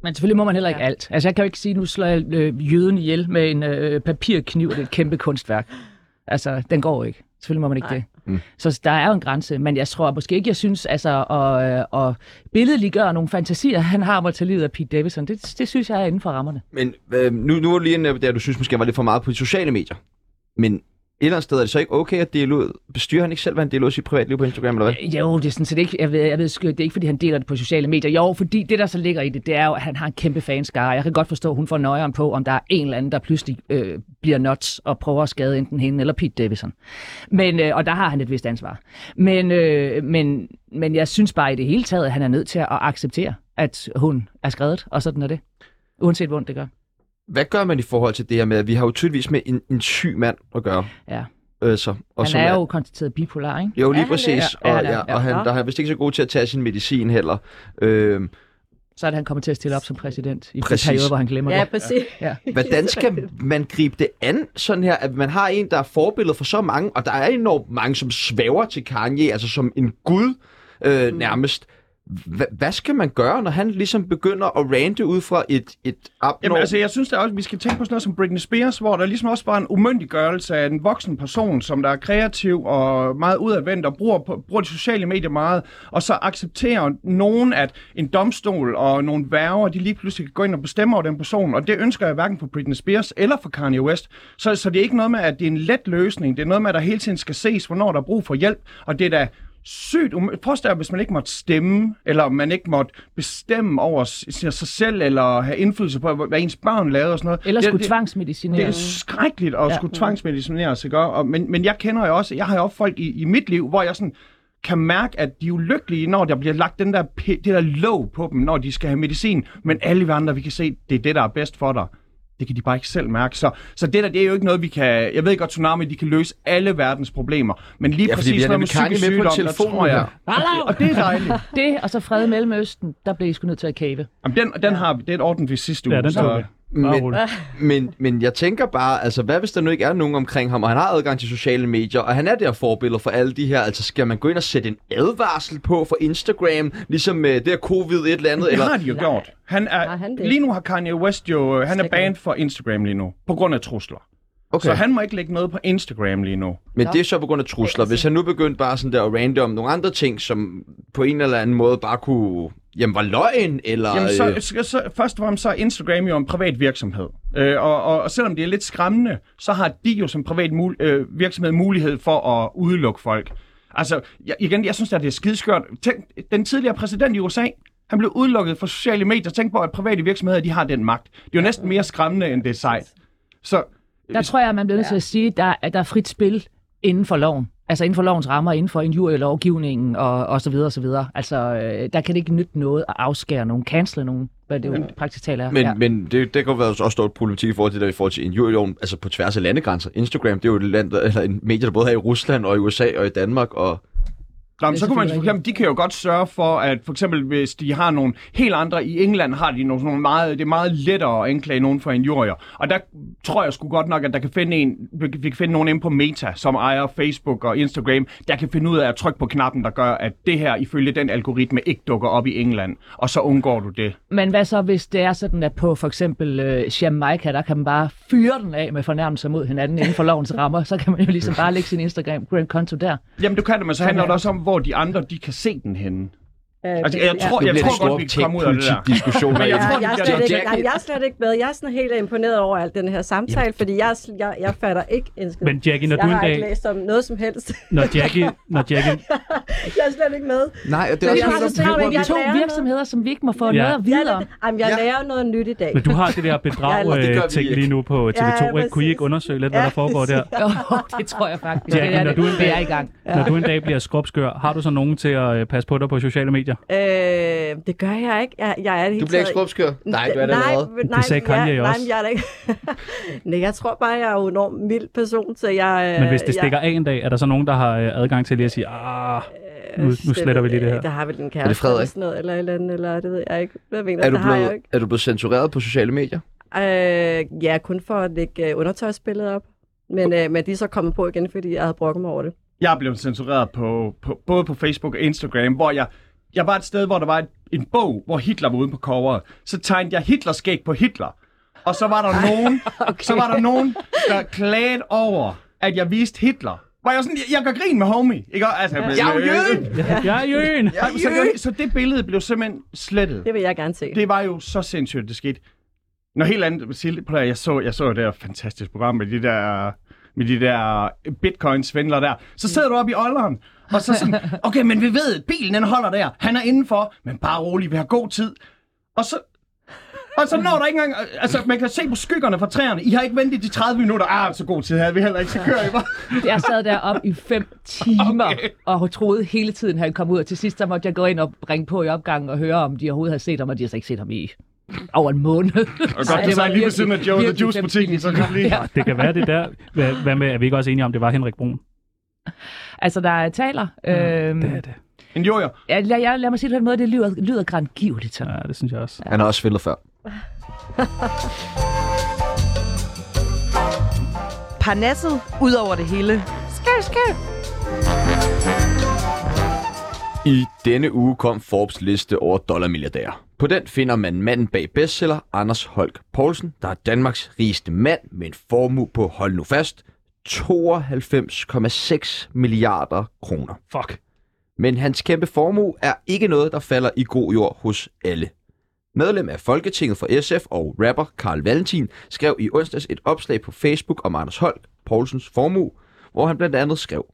Men selvfølgelig må man heller ikke alt. Altså, jeg kan jo ikke sige, nu slår jeg øh, jøden ihjel med en øh, papirkniv, og det er et kæmpe kunstværk. Altså, den går jo ikke. Selvfølgelig må man ikke Nej. det. Mm. Mm. Så der er jo en grænse, men jeg tror måske ikke, jeg synes, altså, at, øh, at billedliggøre nogle fantasier, han har mig til livet af Pete Davidson, det, det synes jeg er inden for rammerne. Men øh, nu, nu var du lige inde på det, at du synes måske var lidt for meget på de sociale medier. Men et eller andet sted er det så ikke okay at dele ud. Bestyrer han ikke selv, hvad han deler ud af sit privatliv på Instagram, eller hvad? Øh, Jo, det er sådan set ikke, jeg ved, jeg ved, sgu- det er ikke, fordi han deler det på sociale medier. Jo, fordi det, der så ligger i det, det er jo, at han har en kæmpe fanskare. Jeg kan godt forstå, at hun får nøjeren på, om der er en eller anden, der pludselig øh, bliver nuts og prøver at skade enten hende eller Pete Davidson. Men, øh, og der har han et vist ansvar. Men, øh, men, men jeg synes bare i det hele taget, at han er nødt til at acceptere, at hun er skrevet, og sådan er det. Uanset hvor ondt det gør. Hvad gør man i forhold til det her med, at vi har jo tydeligvis med en, en syg mand at gøre? Ja. Øh, så, og som Han er jo konstateret bipolar, ikke? Jo, lige Er han det? præcis. Ja, og, han er. ja, Ja. og han, der er vist ikke så god til at tage sin medicin heller. Øh, Så er det, han kommer til at stille op som præsident i Præcis. Præcis. en periode, hvor han glemmer Ja, det. præcis. Ja. [laughs] hvordan skal man gribe det an, sådan her, at man har en, der er forbillede for så mange, og der er enormt mange, som svæver til Kanye, altså som en gud øh, nærmest. Hva, hvad skal man gøre, når han ligesom begynder at rante ud fra et, et abnorm... Jamen, altså, jeg synes der også, vi skal tænke på sådan noget som Britney Spears, hvor der ligesom også var en umyndiggørelse af en voksen person, som der er kreativ og meget udadvendt og bruger, på- bruger de sociale medier meget, og så accepterer nogen, at en domstol og nogle værger, de lige pludselig kan gå ind og bestemme over den person, og det ønsker jeg hverken for Britney Spears eller for Kanye West. Så, så det er ikke noget med, at det er en let løsning. Det er noget med, at der hele tiden skal ses, hvornår der er brug for hjælp, og det er da sygt um... Påstår jeg, hvis man ikke måtte stemme, eller om man ikke måtte bestemme over s- sig selv, eller have indflydelse på, hvad ens børn lavede og sådan noget. Eller Det- skulle det- tvangsmedicinere. det er skrækkeligt at ja. skulle tvangsmedicineres, ikke? Og, men, men jeg kender jo også, jeg har jo også folk i, i mit liv, hvor jeg sådan kan mærke, at de er ulykkelige, når der bliver lagt den der, pi- det der låg på dem, når de skal have medicin. Men alle vi andre, vi kan se, det er det, der er bedst for dig. Det kan de bare ikke selv mærke. Så, så det der, det er jo ikke noget, vi kan... Jeg ved godt, Tsunami, de kan løse alle verdens problemer. Men lige Ja, ja, fordi vi præcis har sådan noget med nemlig Kanye psykisk med på sygdom, der telefonen tror jeg... Hallo! Og det er dejligt. Det, og så fred i Mellemøsten, der blev I sgu nødt til at kæve. Jamen, den, den har vi. Den ordnede vi sidste uge. Ja, den tager så, vi. Bare Men, rolig. men, men jeg tænker bare, altså hvad hvis der nu ikke er nogen omkring ham, og han har adgang til sociale medier, og han er der forbillede for alle de her, altså skal man gå ind og sætte en advarsel på for Instagram, ligesom med det her covid et eller andet, Det eller har de jo gjort. Han er, Har han det? lige nu har Kanye West jo, øh, han er Slet ikke. banned for Instagram lige nu, på grund af trusler. Okay. Så han må ikke lægge noget på Instagram lige nu. Men det er så på grund af trusler. Hvis han nu begyndte bare sådan der at rante om nogle andre ting, som på en eller anden måde bare kunne... Jamen, var løgn, eller... Jamen, så, øh, så, så, først og fremmest så er Instagram jo en privat virksomhed. Øh, og, og, og selvom det er lidt skræmmende, så har de jo som privat mul- øh, virksomhed mulighed for at udelukke folk. Altså, jeg, igen, jeg synes at det er skideskørt. Tænk, den tidligere præsident i USA, han blev udelukket fra sociale medier. Tænk på, at private virksomheder, de har den magt. Det er jo næsten mere skræmmende, end det er sejt. Så Der tror jeg, at man bliver nødt til at sige, at der, at der er frit spil inden for loven. Altså inden for lovens rammer, inden for injurielovgivningen og, og så videre og så videre. Altså, øh, der kan det ikke nytte noget at afskære nogen, cancele nogen, hvad det jo praktisk talt er. Men, ja. ja. men det, det kan jo være også stor problematik i forhold til det, der i forhold til injurieloven, altså på tværs af landegrænser. Instagram, det er jo et land, der, eller en medie, der både er i Rusland og i USA og i Danmark, og Nå, men Det er så kunne man for selvfølgelig eksempel, de kan jo godt sørge for, at for eksempel hvis de har nogle helt andre, i England har de nogle, nogle meget, det er meget lettere at anklage nogen for injurier. Og der tror jeg sgu godt nok, at der kan finde en, vi vi kan finde nogen inde på Meta, som ejer Facebook og Instagram, der kan finde ud af at trykke på knappen, der gør, at det her ifølge den algoritme ikke dukker op i England. Og så undgår du det. men hvad så, hvis det er sådan, at på for eksempel øh, Jamaica, der kan man bare fyre den af med fornærmelser mod hinanden inden for lovens rammer, så kan man jo ligesom bare lægge sin Instagram-konto der. Jamen du kan det, men så handler det også om, hvor de andre, de kan se den henne. Altså, jeg tror, Nu bliver jeg det tror stor godt, vi kan komme ud af det der. teknikpolitik-diskussion Men jeg herinde. tror, jeg, er vi bliver slet nødt ikke, til- Jack- nej, jeg, er slet ikke med. Jeg er sådan helt imponeret over alt den her samtale, fordi jeg, er sl- jeg, jeg fatter ikke en skid. Men Jackie, når jeg du en har dag- ikke læst om noget som helst. Når Jackie, når Jackie, [laughs] jeg er slet ikke med. Nej, og det er Men også Vi jeg helt har så op- synes, det travlt er med de to Jeg lærer virksomheder, som vi ikke må få Ja. noget at Jeg, vide om. jamen, jeg Ja. lærer noget nyt i dag. men du har det der Ja, det gør vi bedrag-ting ikke. lige nu på Ja, TV2. ikke? Kunne I præcis. ikke undersøge lidt, hvad Ja, der foregår der? [laughs] Jo, det tror jeg faktisk. Jackie, det er, når det. du en det dag- er i gang. Når du en dag bliver skrubskør, har du så nogen til at øh, passe på dig på sociale medier? Øh, det gør jeg ikke. Jeg, jeg er det hele Du bliver ikke taget- skrubskør. Nej, du er det allerede. men- nej, Det sagde jeg, Kanye Nej, også. men jeg er da ikke. [laughs] nej, jeg tror bare, jeg er jo en enormt mild person, så jeg... øh, Men hvis det jeg- stikker af en dag, er der så nogen, der har øh, adgang til lige at sige, ah, Øh, nu, nu sletter vi lige det her. Der har vel en Er det kæreste Frederik? eller sådan noget, eller et eller andet, eller det ved jeg ikke. Hvad mener Er du? du, Der har jeg jo blevet, er du blevet censureret på sociale medier? ikke. Øh, ja, kun for at lægge øh, undertøjsbilledet op. Men, øh, men de er så kommet på igen, fordi jeg havde brokket mig over det. Jeg er blevet censureret på, på, både på Facebook og Instagram, hvor jeg, jeg var et sted, hvor der var et, en bog, hvor Hitler var ude på coveret. Så tegnede jeg Hitlerskæg på Hitler. Og så var der [laughs] nogen, okay. så var der nogen, der klagede over, at jeg viste Hitler. Var jeg sådan, jeg, jeg gør grin med homie. Ikke? Altså, jeg, blev- Jeg er jo jøde! Jeg er jøen! Jeg Ej, men Så, er jøde! gør- så det billede blev simpelthen slettet. Det vil jeg gerne se. Det var jo så sindssygt, det skete. Når helt andet, Silje, prøv at høre, jeg så, jeg så jo det her fantastiske program med de der, med de der bitcoin-svindler der. Så sidder du oppe i ålderen, og [laughs] så sådan, okay, men vi ved, bilen den holder der, han er indenfor, men bare rolig, vi har god tid. Og så, og så når der ikke engang, altså man kan se på skyggerne fra træerne, I har ikke ventet de 30 minutter, ah, så god tid havde vi heller ikke, så kører I bare. [laughs] Jeg sad deroppe i fem timer okay. og troede hele tiden, han kom ud. Og til sidst så måtte jeg gå ind og ringe på i opgangen og høre, om de overhovedet havde set ham, og de har så ikke set ham i over en måned. [laughs] Og godt, det var lige ved siden af Joe the Juice-butikken, så kan lige... Ja. Det kan være det der. Hvad, hvad med, er vi ikke også enige om, det var Henrik Brun? Altså, der er taler. Mm. Øhm, Det er det. En jojo. jeg, lad, jeg, lad mig sige det på en måde, det lyder, lyder grandgiveligt. sådan. Ja, det synes jeg også. Han har også spillet før. Parnasset ud over det hele. Skæv, skæv. I denne uge kom Forbes liste over dollarmilliardærer. På den finder man manden bag bestseller Anders Holk Poulsen, der er Danmarks rigeste mand med en formue på, hold nu fast, 92,6 milliarder kroner. Fuck. Men hans kæmpe formue er ikke noget, der falder i god jord hos alle. Medlem af Folketinget for SF og rapper Karl Valentin skrev i onsdags et opslag på Facebook om Anders Holk, Poulsens formue, hvor han blandt andet skrev,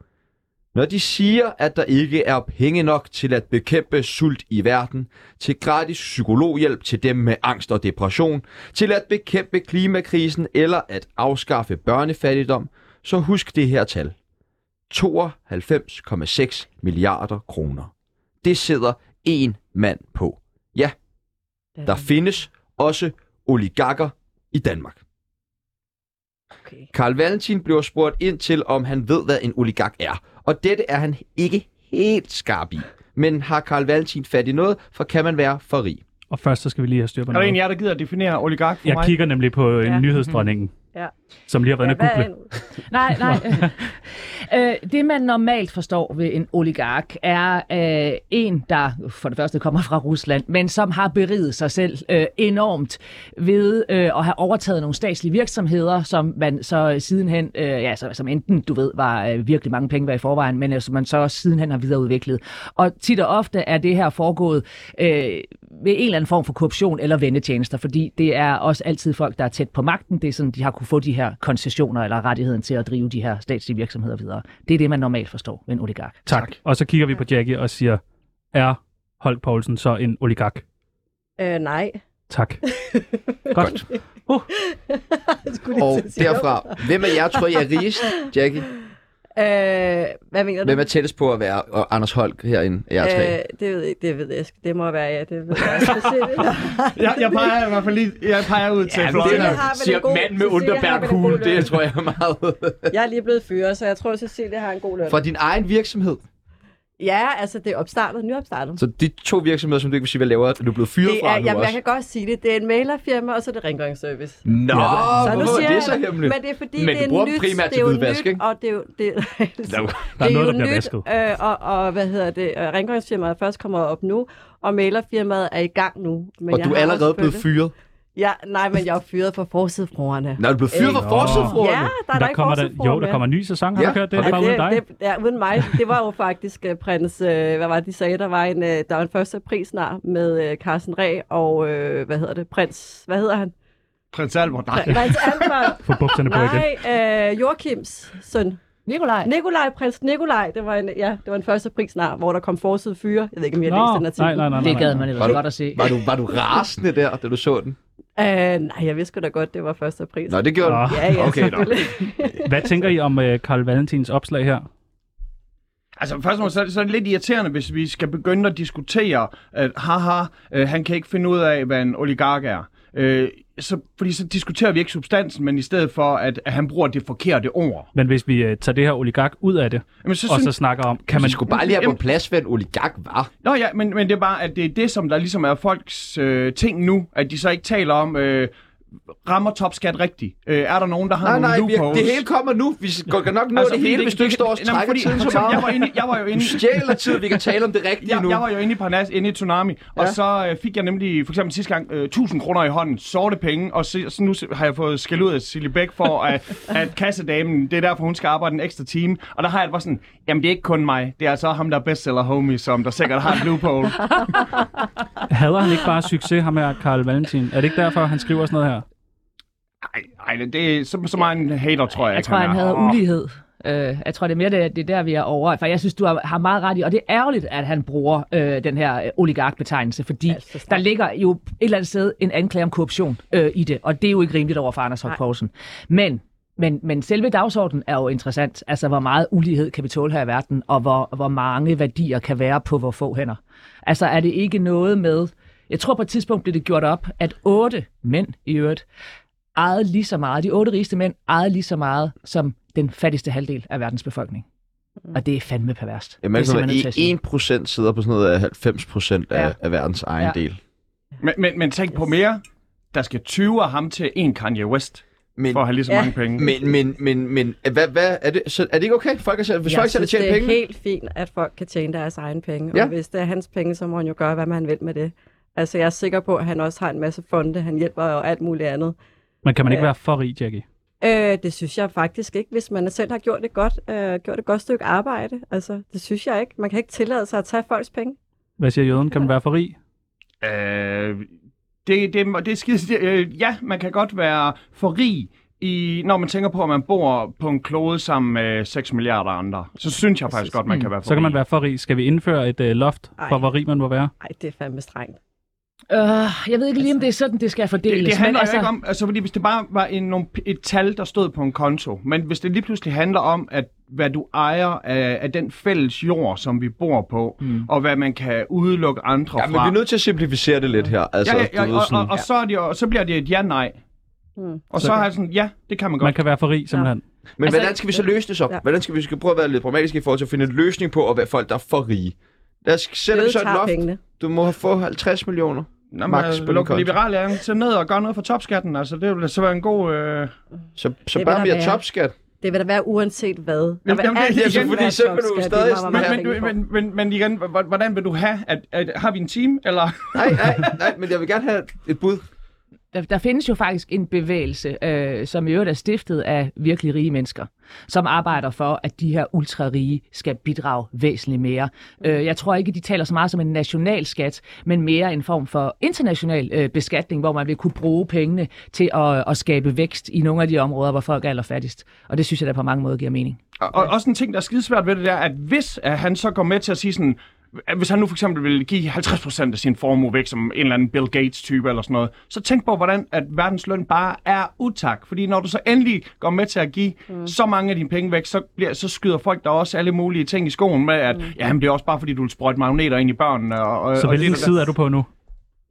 Når de siger, at der ikke er penge nok til at bekæmpe sult i verden, til gratis psykologhjælp til dem med angst og depression, til at bekæmpe klimakrisen eller at afskaffe børnefattigdom, så husk det her tal. 92,6 milliarder kroner. Det sidder en mand på. Ja, der findes også oligarker i Danmark. Okay. Karl Valentin bliver spurgt ind til, om han ved, hvad en oligark er. Og dette er han ikke helt skarp i. Men har Karl Valentin fat i noget, for kan man være for [laughs] rig. Og først så skal vi lige have styr på Er der en af noget. jer, der gider at definere oligark for Jeg mig? kigger nemlig på ja. Ja. nyhedsdronningen, Ja. som lige har været inde Ja, at hvad er google. en Nej, nej. [laughs] øh, det, man normalt forstår ved en oligark, er øh, en, der for det første kommer fra Rusland, men som har beriget sig selv øh, enormt ved øh, at have overtaget nogle statslige virksomheder, som man så sidenhen, øh, ja, så, som enten, du ved, var øh, virkelig mange penge var i forvejen, men øh, som man så også sidenhen har videreudviklet. Og tit og ofte er det her foregået øh, ved en eller anden form for korruption eller vendetjenester, fordi det er også altid folk, der er tæt på magten. Det er sådan, de har kunne få de her koncessioner eller rettigheden til at drive de her statslige virksomheder videre. Det er det, man normalt forstår ved en oligark. Tak. Og så kigger vi på Jackie og siger, er Holk Poulsen så en oligark? Øh, [laughs] nej. Tak. Godt. Det skulle Og jeg til at sige. derfra, hvem af jer tror jeg er rigest, [laughs] Jackie? Øh, hvad mener du? Hvem er tættest på at være og Anders Holk herinde af jer tre? Øh, det ved jeg, det ved jeg sgu. Det må være, ja, det ved jeg [laughs] også. jeg, jeg peger i hvert fald lige, jeg peger ud til det fløjen. er nok- siger mand med underbærkugle, det tror jeg er meget. Jeg er lige blevet fyret, så jeg tror, Cecilie har en god løn. [laughs] Fra din egen virksomhed. Ja, altså det er opstartet, nyopstartet. Så de to virksomheder, som du ikke vil sige, hvad laver, er du er blevet fyret Det fra er, nu jamen, jeg også. kan godt sige det. Det er en mailerfirma, og så er det rengøringsservice. Nå, så hvorfor er det jeg så hemmeligt? Men det er fordi, Men det du er bruger nyt, primært det er til jo hvidvask, nyt, ikke? og det er jo... Det, Nå. [laughs] Der er noget, det jo der bliver nyt, vasket. Øh, og, og, hvad hedder det? Øh, rengøringsfirmaet er først kommet op nu, og mailerfirmaet er i gang nu. Men Og jeg du har er allerede også blevet følge- fyret. Ja, nej, men jeg er fyret for forsidefruerne. Nå, du blev Øh, fyret for Ikke? forsøgfruerne? Ja, der er der kommer der, ikke jo, der kommer en ny sæson. Har Ja. du kørt det? Ja, Ja, bare uden dig. Det, det, ja, uden mig. Det var jo faktisk øh, prins, øh, hvad var det, de sagde, der var en, øh, der var en første pris snart med øh, Carsten Ræ og, øh, hvad hedder det, prins, hvad hedder han? Prins Albert, nej. Prins Albert, Få bukserne på igen. nej, øh, Joachims søn. Nikolaj. Nikolaj, prins Nikolaj, det var en, ja, det var en første pris snart, hvor der kom forside fyre. Jeg ved ikke, om jeg Nå, læste den artikel. nej, nej, nej, nej. Det gad man Var ellers du- godt at se. Var du, var du rasende der, da du så den? Øh, nej, jeg vidste sgu da godt, det var første pris. Nå, det gjorde Nå. du. Ja, ja, Okay, nå. selvfølgelig. Hvad tænker I om øh, Carl Valentins opslag her? Altså først og fremmest, så er det sådan lidt irriterende, hvis vi skal begynde at diskutere, at haha, øh, han kan ikke finde ud af, hvad en oligark er. Øh, så, fordi så diskuterer vi ikke substansen, men i stedet for, at, at han bruger det forkerte ord. Men hvis vi øh, tager det her oligark ud af det, Jamen, så og så synes- snakker om, kan Man man... skulle bare lige have på Jamen- plads, hvad en oligark var. Nå ja, men, men det er bare, at det er det, som der ligesom er folks øh, ting nu, at de så ikke taler om, øh, rammer topskat rigtigt? Øh, er der nogen, der har Nej, nej, nogle vi, loopholes? Altså, det hele kommer nu. Vi går kan nok nå det hele, hvis du ikke står og Nå, men trækker fordi- tiden for så eksempel, Jeg var meget. inde, jeg var jo Du inde, stjæler tid, vi kan tale om det rigtige jeg, nu. jeg var jo inde i Parnas, inde i Tsunami, ja. og så øh, fik jeg nemlig for eksempel sidste gang øh, 1000 kroner i hånden, sorte penge, og så, så nu har jeg fået skæld ud af Silly Bæk for, at, at kassedamen, det er derfor, hun skal arbejde en ekstra time. Og der har jeg det bare sådan, jamen det er ikke kun mig, det er altså ham, der er bestseller homie, som der sikkert har et loophole. Hader han ikke bare succes, ham her, Carl Valentin? Er det ikke derfor, han skriver sådan noget her? Ej, ej, det er så, så meget en hater, tror jeg. Jeg ikke, tror, han havde er. ulighed. Øh, jeg tror, det er mere, det, er- det er der, vi er over. For jeg synes, du har, har meget ret i, og det er ærgerligt, at han bruger øh, den her øh, oligarkbetegnelse, fordi Altså, altså, snart. der ligger jo et eller andet sted en anklage om korruption øh, i det, og det er jo ikke rimeligt over for Anders Hoff Poulsen. Men, men, men selve dagsordenen er jo interessant. Altså, hvor meget ulighed kan vi tåle her i verden, og hvor, hvor mange værdier kan være på hvor få hænder. Altså, er det ikke noget med... Jeg tror, på et tidspunkt blev det gjort op, at otte mænd i øvrigt ejede lige så meget, de otte rigeste mænd ejede lige så meget som den fattigste halvdel af verdens befolkning. Og det er fandme perverst. Jamen, det er altså, simpelthen nødt til at sige. i 1% sidder på sådan noget af 90% af, Ja. af verdens egen Ja. del. Men, men, men tænk på mere. Der skal 20 af ham til en Kanye West, Men, for at have lige så Ja. mange penge. men, men, men, men hvad, hvad, er, det, så, er det ikke okay? Folk er, selv- hvis Jeg folk selv synes, tjener det er penge? helt fint, at folk kan tjene deres egen penge. Ja. Ja. Og hvis det er hans penge, så må han jo gøre, hvad man vil med det. Altså, jeg er sikker på, at han også har en masse fonde. Han hjælper og alt muligt andet. Men kan man ikke Ja. være for rig, Jackie? Øh, det synes jeg faktisk ikke, hvis man selv har gjort et godt, øh, gjort et godt stykke arbejde. Altså, det synes jeg ikke. Man kan ikke tillade sig at tage folks penge. Hvad siger jøden? Kan man være for rig? Øh, det, det, det er skide, det, øh, ja, man kan godt være for rig, i, når man tænker på, at man bor på en klode sammen med 6 milliarder andre. Så synes jeg faktisk godt, man kan være for Mm. Så kan man rig. være for rig. Skal vi indføre et øh, loft for, Ej. hvor rig man må være? Nej, det er fandme strengt. Øh, jeg ved ikke lige, om det er sådan, det skal fordeles. Altså, Det, det handler men altså... ikke altså, om, altså fordi hvis det bare var en, nogle, et tal, der stod på en konto, men hvis det lige pludselig handler om, at hvad du ejer af, af den fælles jord, som vi bor på, mm. og hvad man kan udelukke andre Ja, fra. men vi er nødt til at simplificere det lidt her. Altså, ja, ja, du ja, ved og, sådan, og, og, så er det, og så bliver det et ja-nej. Mm. Mm. Og så, er jeg sådan, ja, det kan man godt. Man kan være for rig, simpelthen. Men Altså, altså, hvordan skal vi så løse det så? øh, ja. Ja. Hvordan skal vi skal prøve at være lidt pragmatiske i forhold til at finde en løsning på at være folk, der er for rige? Lad os sætte Jøde vi så et tager loft. pengene. Du må få 50 millioner. Nå, men, Max altså, på din luk konto. liberale er til ned og gør noget for topskatten. Altså, det ville så være en god... Øh... Så, så Det vil bare der mere være. topskat. Det vil der være uanset hvad. Der vil jamen, det- altid jamen, fordi være så kan du topskat, stadig lige meget, hvor sådan- Men, mange men, penge du- du får. men, men, men igen, h- h- hvordan vil du have? At, at, har vi en time, eller? [laughs] Nej, nej, nej, men jeg vil gerne have et bud. der, der findes jo faktisk en bevægelse, øh, som i øvrigt er stiftet af virkelig rige mennesker, som arbejder for, at de her ultrarige skal bidrage væsentligt mere. Mm. Øh, jeg tror ikke, de taler så meget som en nationalskat, men mere en form for international øh, beskatning, hvor man vil kunne bruge pengene til at, at skabe vækst i nogle af de områder, hvor folk er allerfattigst. Og det synes jeg da på mange måder giver mening. Og, og også en ting, der er skidesvært ved det der, at hvis at han så går med til at sige sådan... at Hvis han nu for eksempel vil give 50% af sin formue væk som en eller anden Bill Gates-type eller sådan noget, så tænk på, hvordan at verdens løn bare er utak. Fordi når du så endelig går med til at give mm. så mange af dine penge væk, så, bliver, så skyder folk der også alle mulige ting i skoen med, at mm. ja, men det er også bare fordi, du vil sprøjte magneter ind i børnene. Og, og, Så og hvilken det, side er du på nu?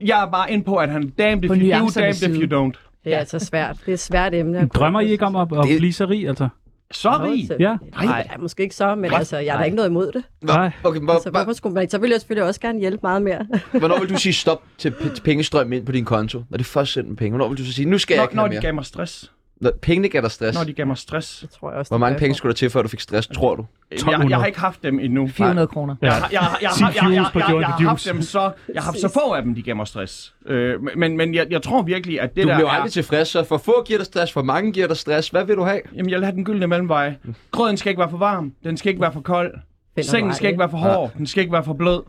Jeg er bare ind på, at han damned if På you do, nuancernes damned if you side. don't. Det er altså svært. Det er et svært emne. at- Drømmer I ikke om at, at Det- blive så rig, altså? Så rig. Så- Ja. Nej, ja, måske ikke så, men altså, jeg har da ikke noget imod det. Nå, Nej. okay, hvor, Altså, hvorfor hvor, skulle man ikke? Så ville jeg selvfølgelig også gerne hjælpe meget mere. [laughs] hvornår vil du sige stop til p- pengestrøm ind på din konto? Når det først sender penge. Hvornår vil du så sige, nu skal jeg Når, ikke når have de mere? gav mig stress. Nå, pengene gav dig stress. Når de gav mig stress. Det tror jeg også. Hvor det mange gør. penge skulle der til, før du fik stress, tror du? Jeg, jeg har ikke haft dem endnu. 400 kroner. Jeg, har- jeg, har- jeg, har- jeg, Ti jeg, jeg, views på jeg, jeg, Joy har the haft Juice. dem så, jeg har haft så få af dem, de giver mig stress. Øh, men men jeg, jeg tror virkelig, at det Du der bliver jo er- aldrig tilfreds, så for få giver dig stress, for mange giver dig stress. Hvad vil du have? Jamen, jeg vil have den gyldne mellemvej. Grøden skal ikke være for varm. Den skal ikke være for kold. Finder Sengen vej, skal ikke ikke? være for hård. Den skal ikke være for blød.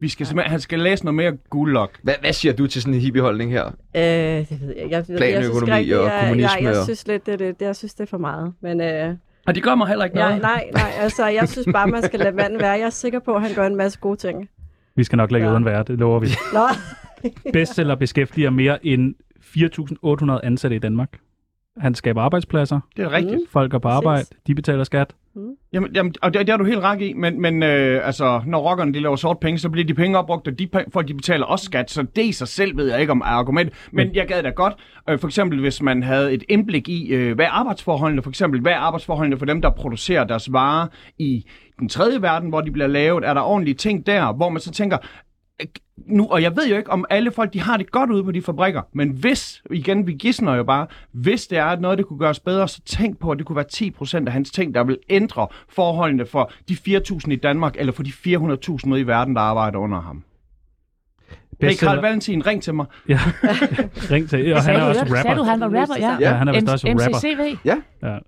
Vi skal simpelthen, han skal læse noget mere guldlok. Hvad, hvad siger du til sådan en hippieholdning her? Øh, det ved jeg. ikke. Jeg, jeg, jeg synes Planøkonomi ikke rigtig, og jeg, kommunisme Jeg, jeg og- synes lidt, det, det, det, jeg synes, det er for meget. Men øh, Og det gør mig heller ikke jeg, noget. nej, nej, altså, jeg synes bare, man skal lade manden være. Jeg er sikker på, at han gør en masse gode ting. Vi skal nok lade jøden være, [laughs] det lover vi. Nå, Bestseller beskæftiger mere end 4.800 ansatte i Danmark. Han skaber arbejdspladser, Det er rigtigt. folk er på arbejde, de betaler skat. Jamen, jamen og det, det har du helt ret i, men, men øh, altså, når rockerne de laver sort penge, så bliver de penge opbrugt, og de pe- folk de betaler også skat, så det i sig selv ved jeg ikke om er argument. Men jeg gad da godt, øh, for eksempel hvis man havde et indblik i, øh, hvad er arbejdsforholdene, for eksempel hvad er arbejdsforholdene for dem, der producerer deres varer i den tredje verden, hvor de bliver lavet, er der ordentlige ting der, hvor man så tænker, øh, nu, og jeg ved jo ikke, om alle folk de har det godt ude på de fabrikker, men hvis, igen, vi gidsner jo bare, hvis det er at noget, det kunne gøres bedre, så tænk på, at det kunne være 10% af hans ting, der vil ændre forholdene for de 4.000 i Danmark, eller for de 400.000 ude i verden, der arbejder under ham. Hey, Carl Bestseller- Valentin, ring til mig. Ja. Ring til. Og han er Sagde du- også Sagde du, rapper. han var rapper? Ja, Ja, han er vist også rapper. MCCV? Ja,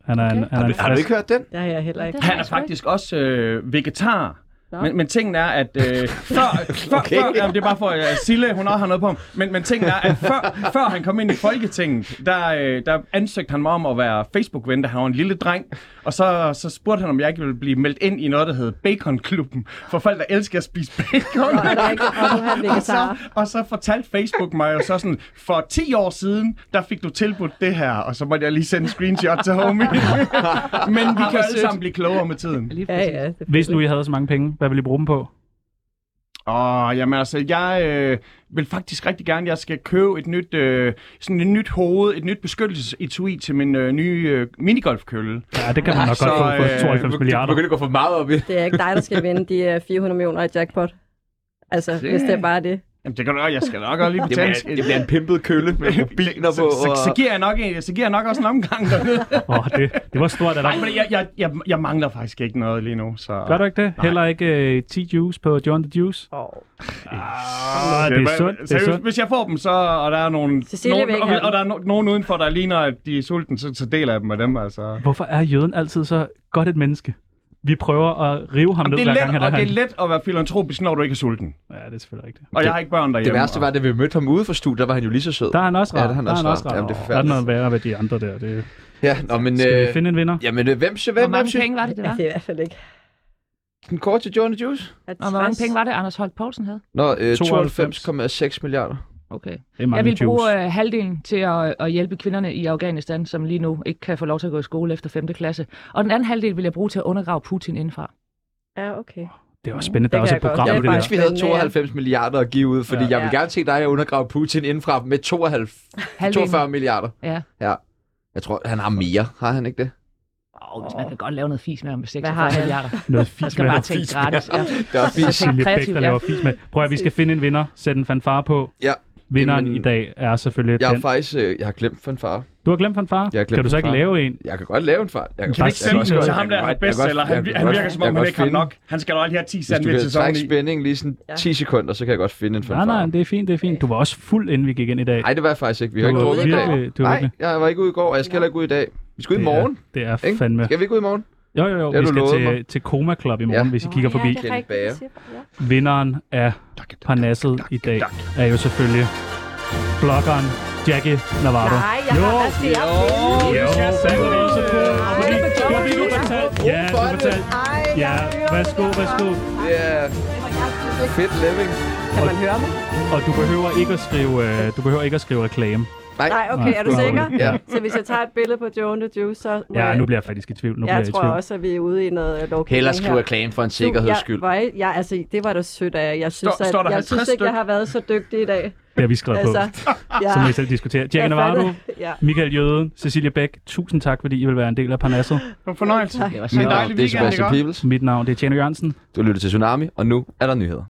han er en, han er en Har du frisk- ikke hørt den? det har jeg heller ikke. Det Han er sgu ikke. faktisk også øh, vegetar. Nå. Men, men tingen er, at [laughs] øh, før, før, okay. før jamen, det er bare for, at Sille, hun også har noget på ham, men, men tingen er, at før, før han kom ind i Folketinget, der, øh, der ansøgte han mig om at være Facebook-ven, da han var en lille dreng, og så, så spurgte han, om jeg ikke ville blive meldt ind i noget, der hed Baconklubben, for folk, der elsker at spise bacon. Og der er ikke, og nu er han Og så, vegetar. og så fortalte Facebook mig jo så sådan, for 10 år siden, der fik du tilbudt det her, og så måtte jeg lige sende en screenshot til homie. Men vi kan alle sammen blive klogere med tiden. Lige Ja, præcis. ja. det- Hvis nu I havde så mange penge, hvad ville I bruge dem på? Åh, jamen altså, jeg øh, vil faktisk rigtig gerne, jeg skal købe et nyt, øh, sådan et nyt hoved, et nyt beskyttelsesetui til min øh, nye øh, minigolfkølle. Ja, det kan man nok Så, godt få øh, for 92 Du milliarder. begynder at gå for meget op i det. Det er ikke dig, der skal vinde de øh, 400 millioner i jackpot. Altså, hvis det er bare det. Jamen det kan du jeg skal nok også lige Det bliver, betale. det bliver en pimpet kølle med [laughs] biler så, på. så, så, og- giver jeg nok, en- så giver jeg nok også en omgang [laughs] dernede. Åh, det, det var stort af dig. Nej, men jeg, jeg, jeg, jeg mangler faktisk ikke noget lige nu, så... Gør du ikke det? Heller ikke øh, 10 juice på John the Juice? Og Ah, det er sundt, det er Seriøst, sundt. hvis jeg får dem, så, og der er nogen, Cecilie vil nogen ikke og, have og der er no, nogen udenfor, der ligner, at de er sultne, så, så deler jeg dem med dem, altså. Hvorfor er jøden altid så godt et menneske? Vi prøver at rive ham Jamen, ned, det er hver gang han let, er og det er herinde. let at være filantropisk, når du ikke er sulten. Ja, det er selvfølgelig rigtigt. Og jeg har ikke børn derhjemme. Det værste var, da vi mødte ham ude for studiet, der var han jo lige så sød. Der er han også Ja, rar. der er han også rar. Jamen, det er Der er forfærdeligt. noget værre ved de andre der. Det... Ja, nå, men... Skal vi Øh, finde en vinder? jamen, øh, hvem siger Hvor hvem? Hvem mange siger penge var det, det [laughs] ja, var? [laughs] det er i hvert fald ikke. den kort til Johnny Juice? Og hvor mange penge var det, Anders Holk Poulsen havde? Nå, øh, 92,6 92,6 milliarder. Okay. Det er mange Jeg vil juice. bruge øh, halvdelen til at, at hjælpe kvinderne i Afghanistan, som lige nu ikke kan få lov til at gå i skole efter 5. klasse. Og den anden halvdel vil jeg bruge til at undergrave Putin indfra. Ja, okay. Det er også spændende. Der er Det også kan et jeg godt. program, Ja, det der. Hvis vi havde Men, øh, 92 milliarder at give ud, fordi Ja. jeg vil Ja. gerne se dig undergrave Putin indfra med 92, Halvdelen. 42 milliarder. Ja. ja. Jeg tror, han har mere. Har han ikke det? Åh, hvis man kan godt lave noget fis med ham med Hvad har 46 han? milliarder. Noget Man fis skal med bare ham. [laughs] tænke gratis. Ja. Det er fint. Tænk Silje Bæk, kreativt, der ja. laver fis med. Prøv at vi skal finde en vinder. Sæt en fanfare på. Ja. Vinderen Jamen, i dag er selvfølgelig Jeg har den. faktisk øh, jeg har glemt for en far. Du har glemt fanfare? Jeg har glemt Kan du så ikke fanfare. lave en? Jeg kan godt lave en far. Jeg Kan vi ikke faktisk- sende jeg den godt- til ham, der jeg er kan godt- bestseller? jeg Han, kan han godt- virker som jeg kan om, han godt ikke har finde- nok. Han skal da lige have 10 Hvis du kan sandwiches trække oveni. spændingen lige sådan Ja. 10 sekunder, så kan jeg godt finde en Nej, fanfare. nej, det er fint, det er fint. Du var også fuld, inden vi gik ind i dag. Nej, det var jeg faktisk ikke. Vi har Du ikke var drukket i dag. virkelig- du var Nej, virkelig- jeg var ikke ude i går, og jeg skal heller ikke ud i dag. Vi skal ud i Det er- morgen, Det er ikke? fandme. Skal vi ikke ud i morgen? Jo, jo, jo. Det har Vi du skal lovet til, til Koma Club i morgen, Ja. hvis I kigger forbi. Kenny Bager. Vinderen af Parnasset i dag er jo selvfølgelig bloggeren Jackie Navarro. Nej, jeg har Jo. da flere penge. Jo, fandme også på. Og fordi, Ej, du har lige nu fortalt. Ja, du for har det. fortalt. Ej, Ja, jeg hører værsgo, det, værsgo. Det er fedt living. Kan man høre mig? Og du behøver ikke at skrive, øh, du behøver ikke at skrive reklame. Nej, okay, er du Nej. sikker? Ja. Så hvis jeg tager et billede på Joan the Juice, så må Ja, jeg... nu bliver jeg faktisk i tvivl. Nu bliver jeg jeg i tror tvivl. også, at vi er ude i noget øh, lovgivning Heller skrive her. reklame for en sikkerheds skyld. Du, jeg, var, jeg, altså, det var da sødt af jer. Jeg synes, Står- står der at, jeg 50 synes ikke, styk? jeg har været så dygtig i dag. Det har vi skrevet på. [laughs] Altså, ja, Så må I selv diskutere. Jackie jeg Navarro, fattede- [laughs] Ja. Michael Jøden, Cecilie Bæk, tusind tak, fordi I vil være en del af Parnasset. Det var en fornøjelse. Det var Men Mit sådan. navn dejlig det er weekend, ikke Sebastian også? Peebles. Mit navn det er Tjerno Jørgensen. Du lytter til Tsunami, og nu er der nyheder.